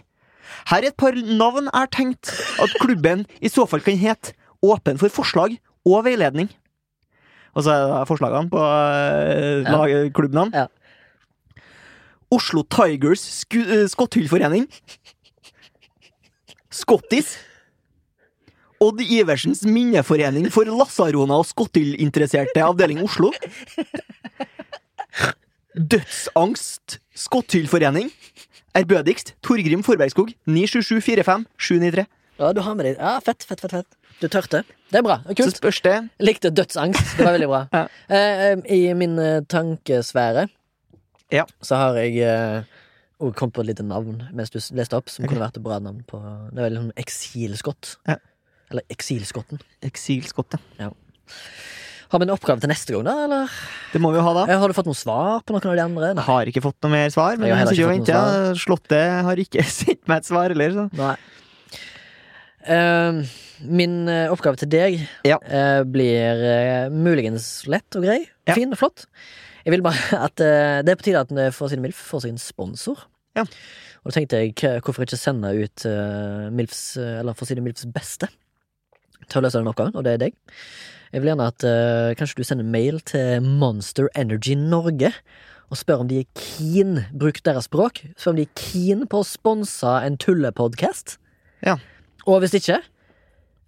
Speaker 2: Her er et par navn jeg har tenkt at klubben i så fall kan hete Åpen for forslag og veiledning. Og så er det forslagene på eh,
Speaker 1: Ja.
Speaker 2: lag- klubbnavn.
Speaker 1: Ja.
Speaker 2: Oslo Tigers sku, eh, skotthyllforening. Skottis. Odd Iversens minneforening for lasaroner og skottyllinteresserte avdeling Oslo. Dødsangst skotthyllforening. Ærbødigst Torgrim Forbergskog 97745
Speaker 1: Ja, du har med deg Ja, fett, fett, fett. fett Du tørte. Det er bra. det er
Speaker 2: Så
Speaker 1: Kult.
Speaker 2: spørs det
Speaker 1: Likte dødsangst. Det var veldig bra.
Speaker 2: (laughs) Ja.
Speaker 1: Eh, eh, I min eh, tankesfære
Speaker 2: Ja.
Speaker 1: så har jeg eh, og kom på et lite navn mens du s- leste opp, som kunne vært et bra navn på Det var liksom Eksilskott.
Speaker 2: Ja.
Speaker 1: Eller Eksilskotten.
Speaker 2: Eksilskottet.
Speaker 1: Har vi en oppgave til neste gang, da? Eller?
Speaker 2: Det må vi jo ha, da.
Speaker 1: Eh, Har du fått noe svar på noen av de andre?
Speaker 2: Jeg har ikke fått noe mer svar. Men
Speaker 1: Jeg har heller
Speaker 2: jeg
Speaker 1: ikke fått noe
Speaker 2: venter. Slottet har ikke (laughs) sendt meg et svar heller. Så.
Speaker 1: Nei. Eh, min eh, oppgave til deg
Speaker 2: Ja.
Speaker 1: eh, blir eh, muligens lett og grei.
Speaker 2: Ja.
Speaker 1: Fin og flott. Jeg vil bare (laughs) at eh, Det er på tide at eh, for å si det mildt, får seg en sponsor.
Speaker 2: Ja.
Speaker 1: Og da tenkte jeg k- hvorfor ikke sende ut eh, Milfs, eh, eller for å si det Milfs beste til å løse den oppgaven, og det er deg. Jeg vil gjerne at eh, kanskje du sender mail til Monster Energy Norge og spør om de er keen, bruk deres språk, spør om de er keen på å sponse en tullepodkast.
Speaker 2: Ja.
Speaker 1: Og hvis ikke,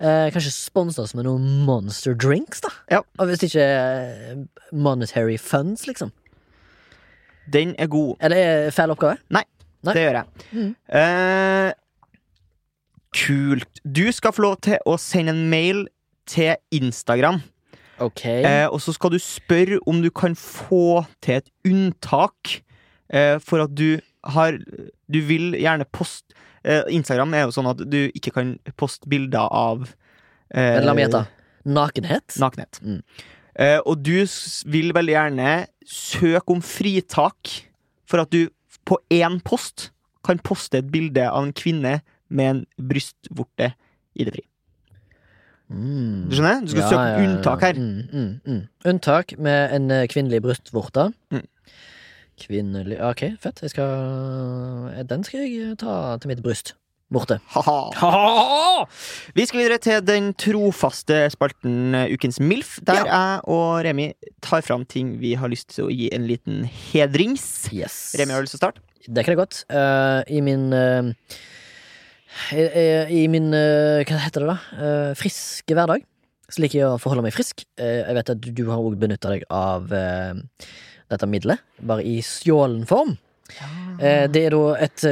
Speaker 1: eh, kanskje sponse oss med noen monster drinks, da.
Speaker 2: Ja.
Speaker 1: Og hvis ikke eh, monetary funds, liksom.
Speaker 2: Den er god.
Speaker 1: Er det feil oppgave? Nei.
Speaker 2: Det gjør jeg.
Speaker 1: Mm.
Speaker 2: Eh, kult. Du skal få lov til å sende en mail til Instagram.
Speaker 1: Ok.
Speaker 2: Eh, og så skal du spørre om du kan få til et unntak eh, for at du har Du vil gjerne poste eh, Instagram er jo sånn at du ikke kan poste bilder av eh,
Speaker 1: Men la meg gjette. Nakenhet?
Speaker 2: Nakenhet.
Speaker 1: Mm.
Speaker 2: Eh, og du s- vil veldig gjerne søke om fritak for at du på én post kan poste et bilde av en kvinne med en brystvorte i det fri.
Speaker 1: Mm.
Speaker 2: Du skjønner? Du skal
Speaker 1: Ja, ja,
Speaker 2: søke om
Speaker 1: ja, ja.
Speaker 2: unntak her.
Speaker 1: Mm, mm, mm. Unntak med en eh, kvinnelig brystvorte.
Speaker 2: Mm.
Speaker 1: Kvinnelig Ok, fett. Jeg skal Den skal jeg ta til mitt bryst. Vorte.
Speaker 2: Haha. Vi skal videre til den trofaste spalten eh, Ukens MILF, der jeg og Remi tar fram ting vi har lyst til å gi en liten hedrings.
Speaker 1: Yes.
Speaker 2: Remi har lyst til å starte.
Speaker 1: Det kan jeg godt. Eh, I min eh, i, I min eh, Hva heter det, da? Eh, friske hverdag. Så liker jeg å forholde meg frisk. Eh, jeg vet at du har òg benytta deg av eh, dette middelet, bare i stjålen form. Eh,
Speaker 2: Mm.
Speaker 1: det er da et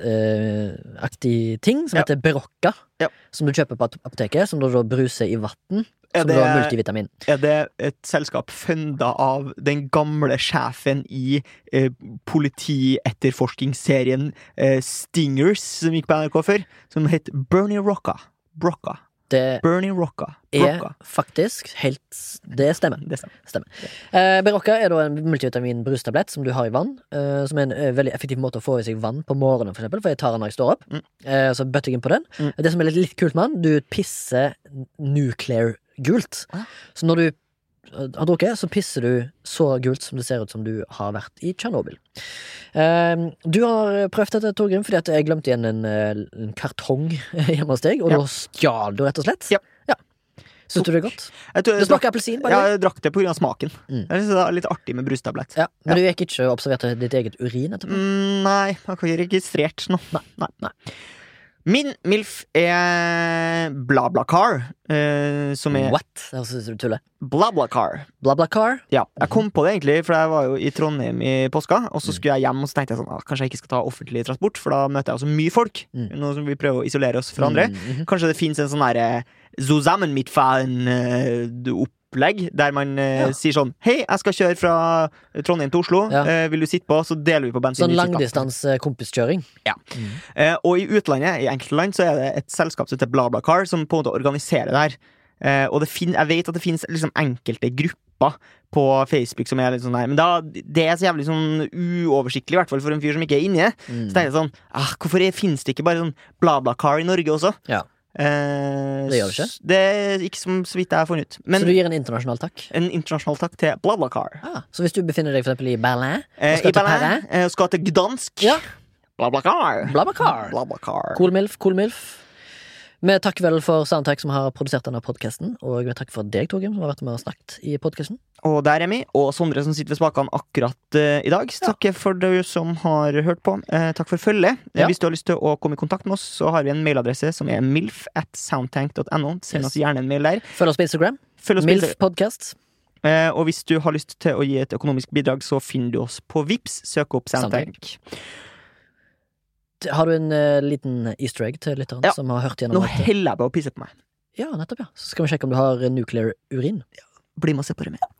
Speaker 1: vitaminbrusetablett-aktig ting som
Speaker 2: Ja.
Speaker 1: heter Berocca.
Speaker 2: Ja.
Speaker 1: Som du kjøper på at- apoteket, som du da bruser i vann.
Speaker 2: Er
Speaker 1: Som da er
Speaker 2: det-
Speaker 1: multivitamin.
Speaker 2: Er det et selskap funda av den gamle sjefen i eh, politietterforskningsserien eh, Stingers, som gikk på NRK før, som het Bernie Rocca? Brocca.
Speaker 1: Det
Speaker 2: Bernie Rocca.
Speaker 1: er
Speaker 2: Brocca.
Speaker 1: faktisk helt s- Det stemmer.
Speaker 2: Det stemmer.
Speaker 1: Eh, Berocca er da en multivitamin-brustablett som du har i vann. Eh, som er en eh, veldig effektiv måte å få i seg vann på morgenen, for eksempel. For jeg tar den når jeg står opp.
Speaker 2: Mm.
Speaker 1: Eh, så bøtter jeg inn på den.
Speaker 2: Mm.
Speaker 1: Det som er litt, litt kult med den, du pisser nuclear-gult.
Speaker 2: Ah.
Speaker 1: Så når du eh, har drukket, så pisser du så gult som det ser ut som du har vært i Tsjernobyl. Eh, du har prøvd dette, Torgrim, fordi at jeg glemte igjen en, eh, en kartong (laughs) hjemme hos deg, og
Speaker 2: Ja.
Speaker 1: da stjal du, rett og slett.
Speaker 2: Ja.
Speaker 1: ja. Syns du det er godt?
Speaker 2: Jeg
Speaker 1: Det
Speaker 2: tror jeg drakk,
Speaker 1: smaker appelsin. by the
Speaker 2: ja,
Speaker 1: way.
Speaker 2: jeg drakk det pga. smaken.
Speaker 1: Mm.
Speaker 2: Jeg synes det er Litt artig med brustablett.
Speaker 1: Ja, men du gikk ikke og observerte ditt eget urin etterpå?
Speaker 2: Mm, nei, jeg har ikke registrert noe. Nei, nei, nei. Min MILF er BlaBlaCar, eh, som er
Speaker 1: What? Det høres ut som du tuller.
Speaker 2: BlaBlaCar.
Speaker 1: BlaBlaCar.
Speaker 2: Ja, jeg kom på det egentlig, for jeg var jo i Trondheim i påska, og
Speaker 1: Mm.
Speaker 2: så skulle jeg hjem, og så tenkte jeg sånn, ah, kanskje jeg ikke skal ta offentlig transport, for da møter jeg også mye folk,
Speaker 1: Mm.
Speaker 2: noe som vi prøver å isolere oss fra andre.
Speaker 1: Mm, mhm.
Speaker 2: Kanskje det finnes en sånn derre zusammen mit faen eh, du opplegg, der man eh,
Speaker 1: Ja.
Speaker 2: sier sånn, hei, jeg skal kjøre fra Trondheim til Oslo,
Speaker 1: Ja.
Speaker 2: eh, vil du sitte på, så deler vi på bensin.
Speaker 1: Sånn
Speaker 2: vi sitter på.
Speaker 1: langdistanse-kompiskjøring.
Speaker 2: Eh, og i utlandet, i enkelte land, så er det et selskap som heter BlaBlaCar, som på en måte organiserer det her. Eh, og det fin jeg vet at det finnes liksom enkelte grupper på Facebook som er litt sånn her, men da, det er så jævlig sånn uoversiktlig, i hvert fall for en fyr som ikke er inni det. Så
Speaker 1: Mm.
Speaker 2: tenker jeg sånn, ah, hvorfor er- finnes det ikke bare sånn BlaBlaCar i Norge også?
Speaker 1: Ja.
Speaker 2: Eh,
Speaker 1: Det gjør det ikke.
Speaker 2: s- Det er ikke som, så vidt jeg har funnet ut. Men
Speaker 1: så du gir en internasjonal takk?
Speaker 2: en internasjonal takk til BlaBlaCar.
Speaker 1: Ah, så hvis du befinner deg for eksempel i Berlin
Speaker 2: Eh,
Speaker 1: skal
Speaker 2: I
Speaker 1: til
Speaker 2: Berlin eh, skal til Gdansk.
Speaker 1: Ja.
Speaker 2: BlaBlaCar.
Speaker 1: BlaBlaCar.
Speaker 2: BlaBlaCar.
Speaker 1: Cool milf, cool milf. Vi takker vel for Soundtrack, som har produsert denne podkasten. Og vi takker for deg, Torgrim, som har vært med og snakket i podkasten.
Speaker 2: Og der er vi, og Sondre som sitter ved spakene akkurat eh, i dag. Så Takk for du som har hørt på. Eh, takk for følget. Eh,
Speaker 1: Ja.
Speaker 2: Hvis du har lyst til å komme i kontakt med oss, så har vi en mailadresse som er milf at soundtank.no. Send oss
Speaker 1: Yes.
Speaker 2: gjerne en mail der.
Speaker 1: Følg oss på Instagram.
Speaker 2: Følg oss på
Speaker 1: Milf
Speaker 2: Insta-
Speaker 1: Podcast.
Speaker 2: eh, og hvis du har lyst til å gi et økonomisk bidrag, så finner du oss på Vips Søk opp Soundtank.
Speaker 1: Har du en eh, liten easter egg til lytteren
Speaker 2: Ja.
Speaker 1: som har hørt gjennom
Speaker 2: Nå
Speaker 1: dette?
Speaker 2: heller jeg på å pisse på meg.
Speaker 1: Ja, nettopp, ja. Så skal vi sjekke om du har eh, nuclear urin.
Speaker 2: Bli med og se på det med.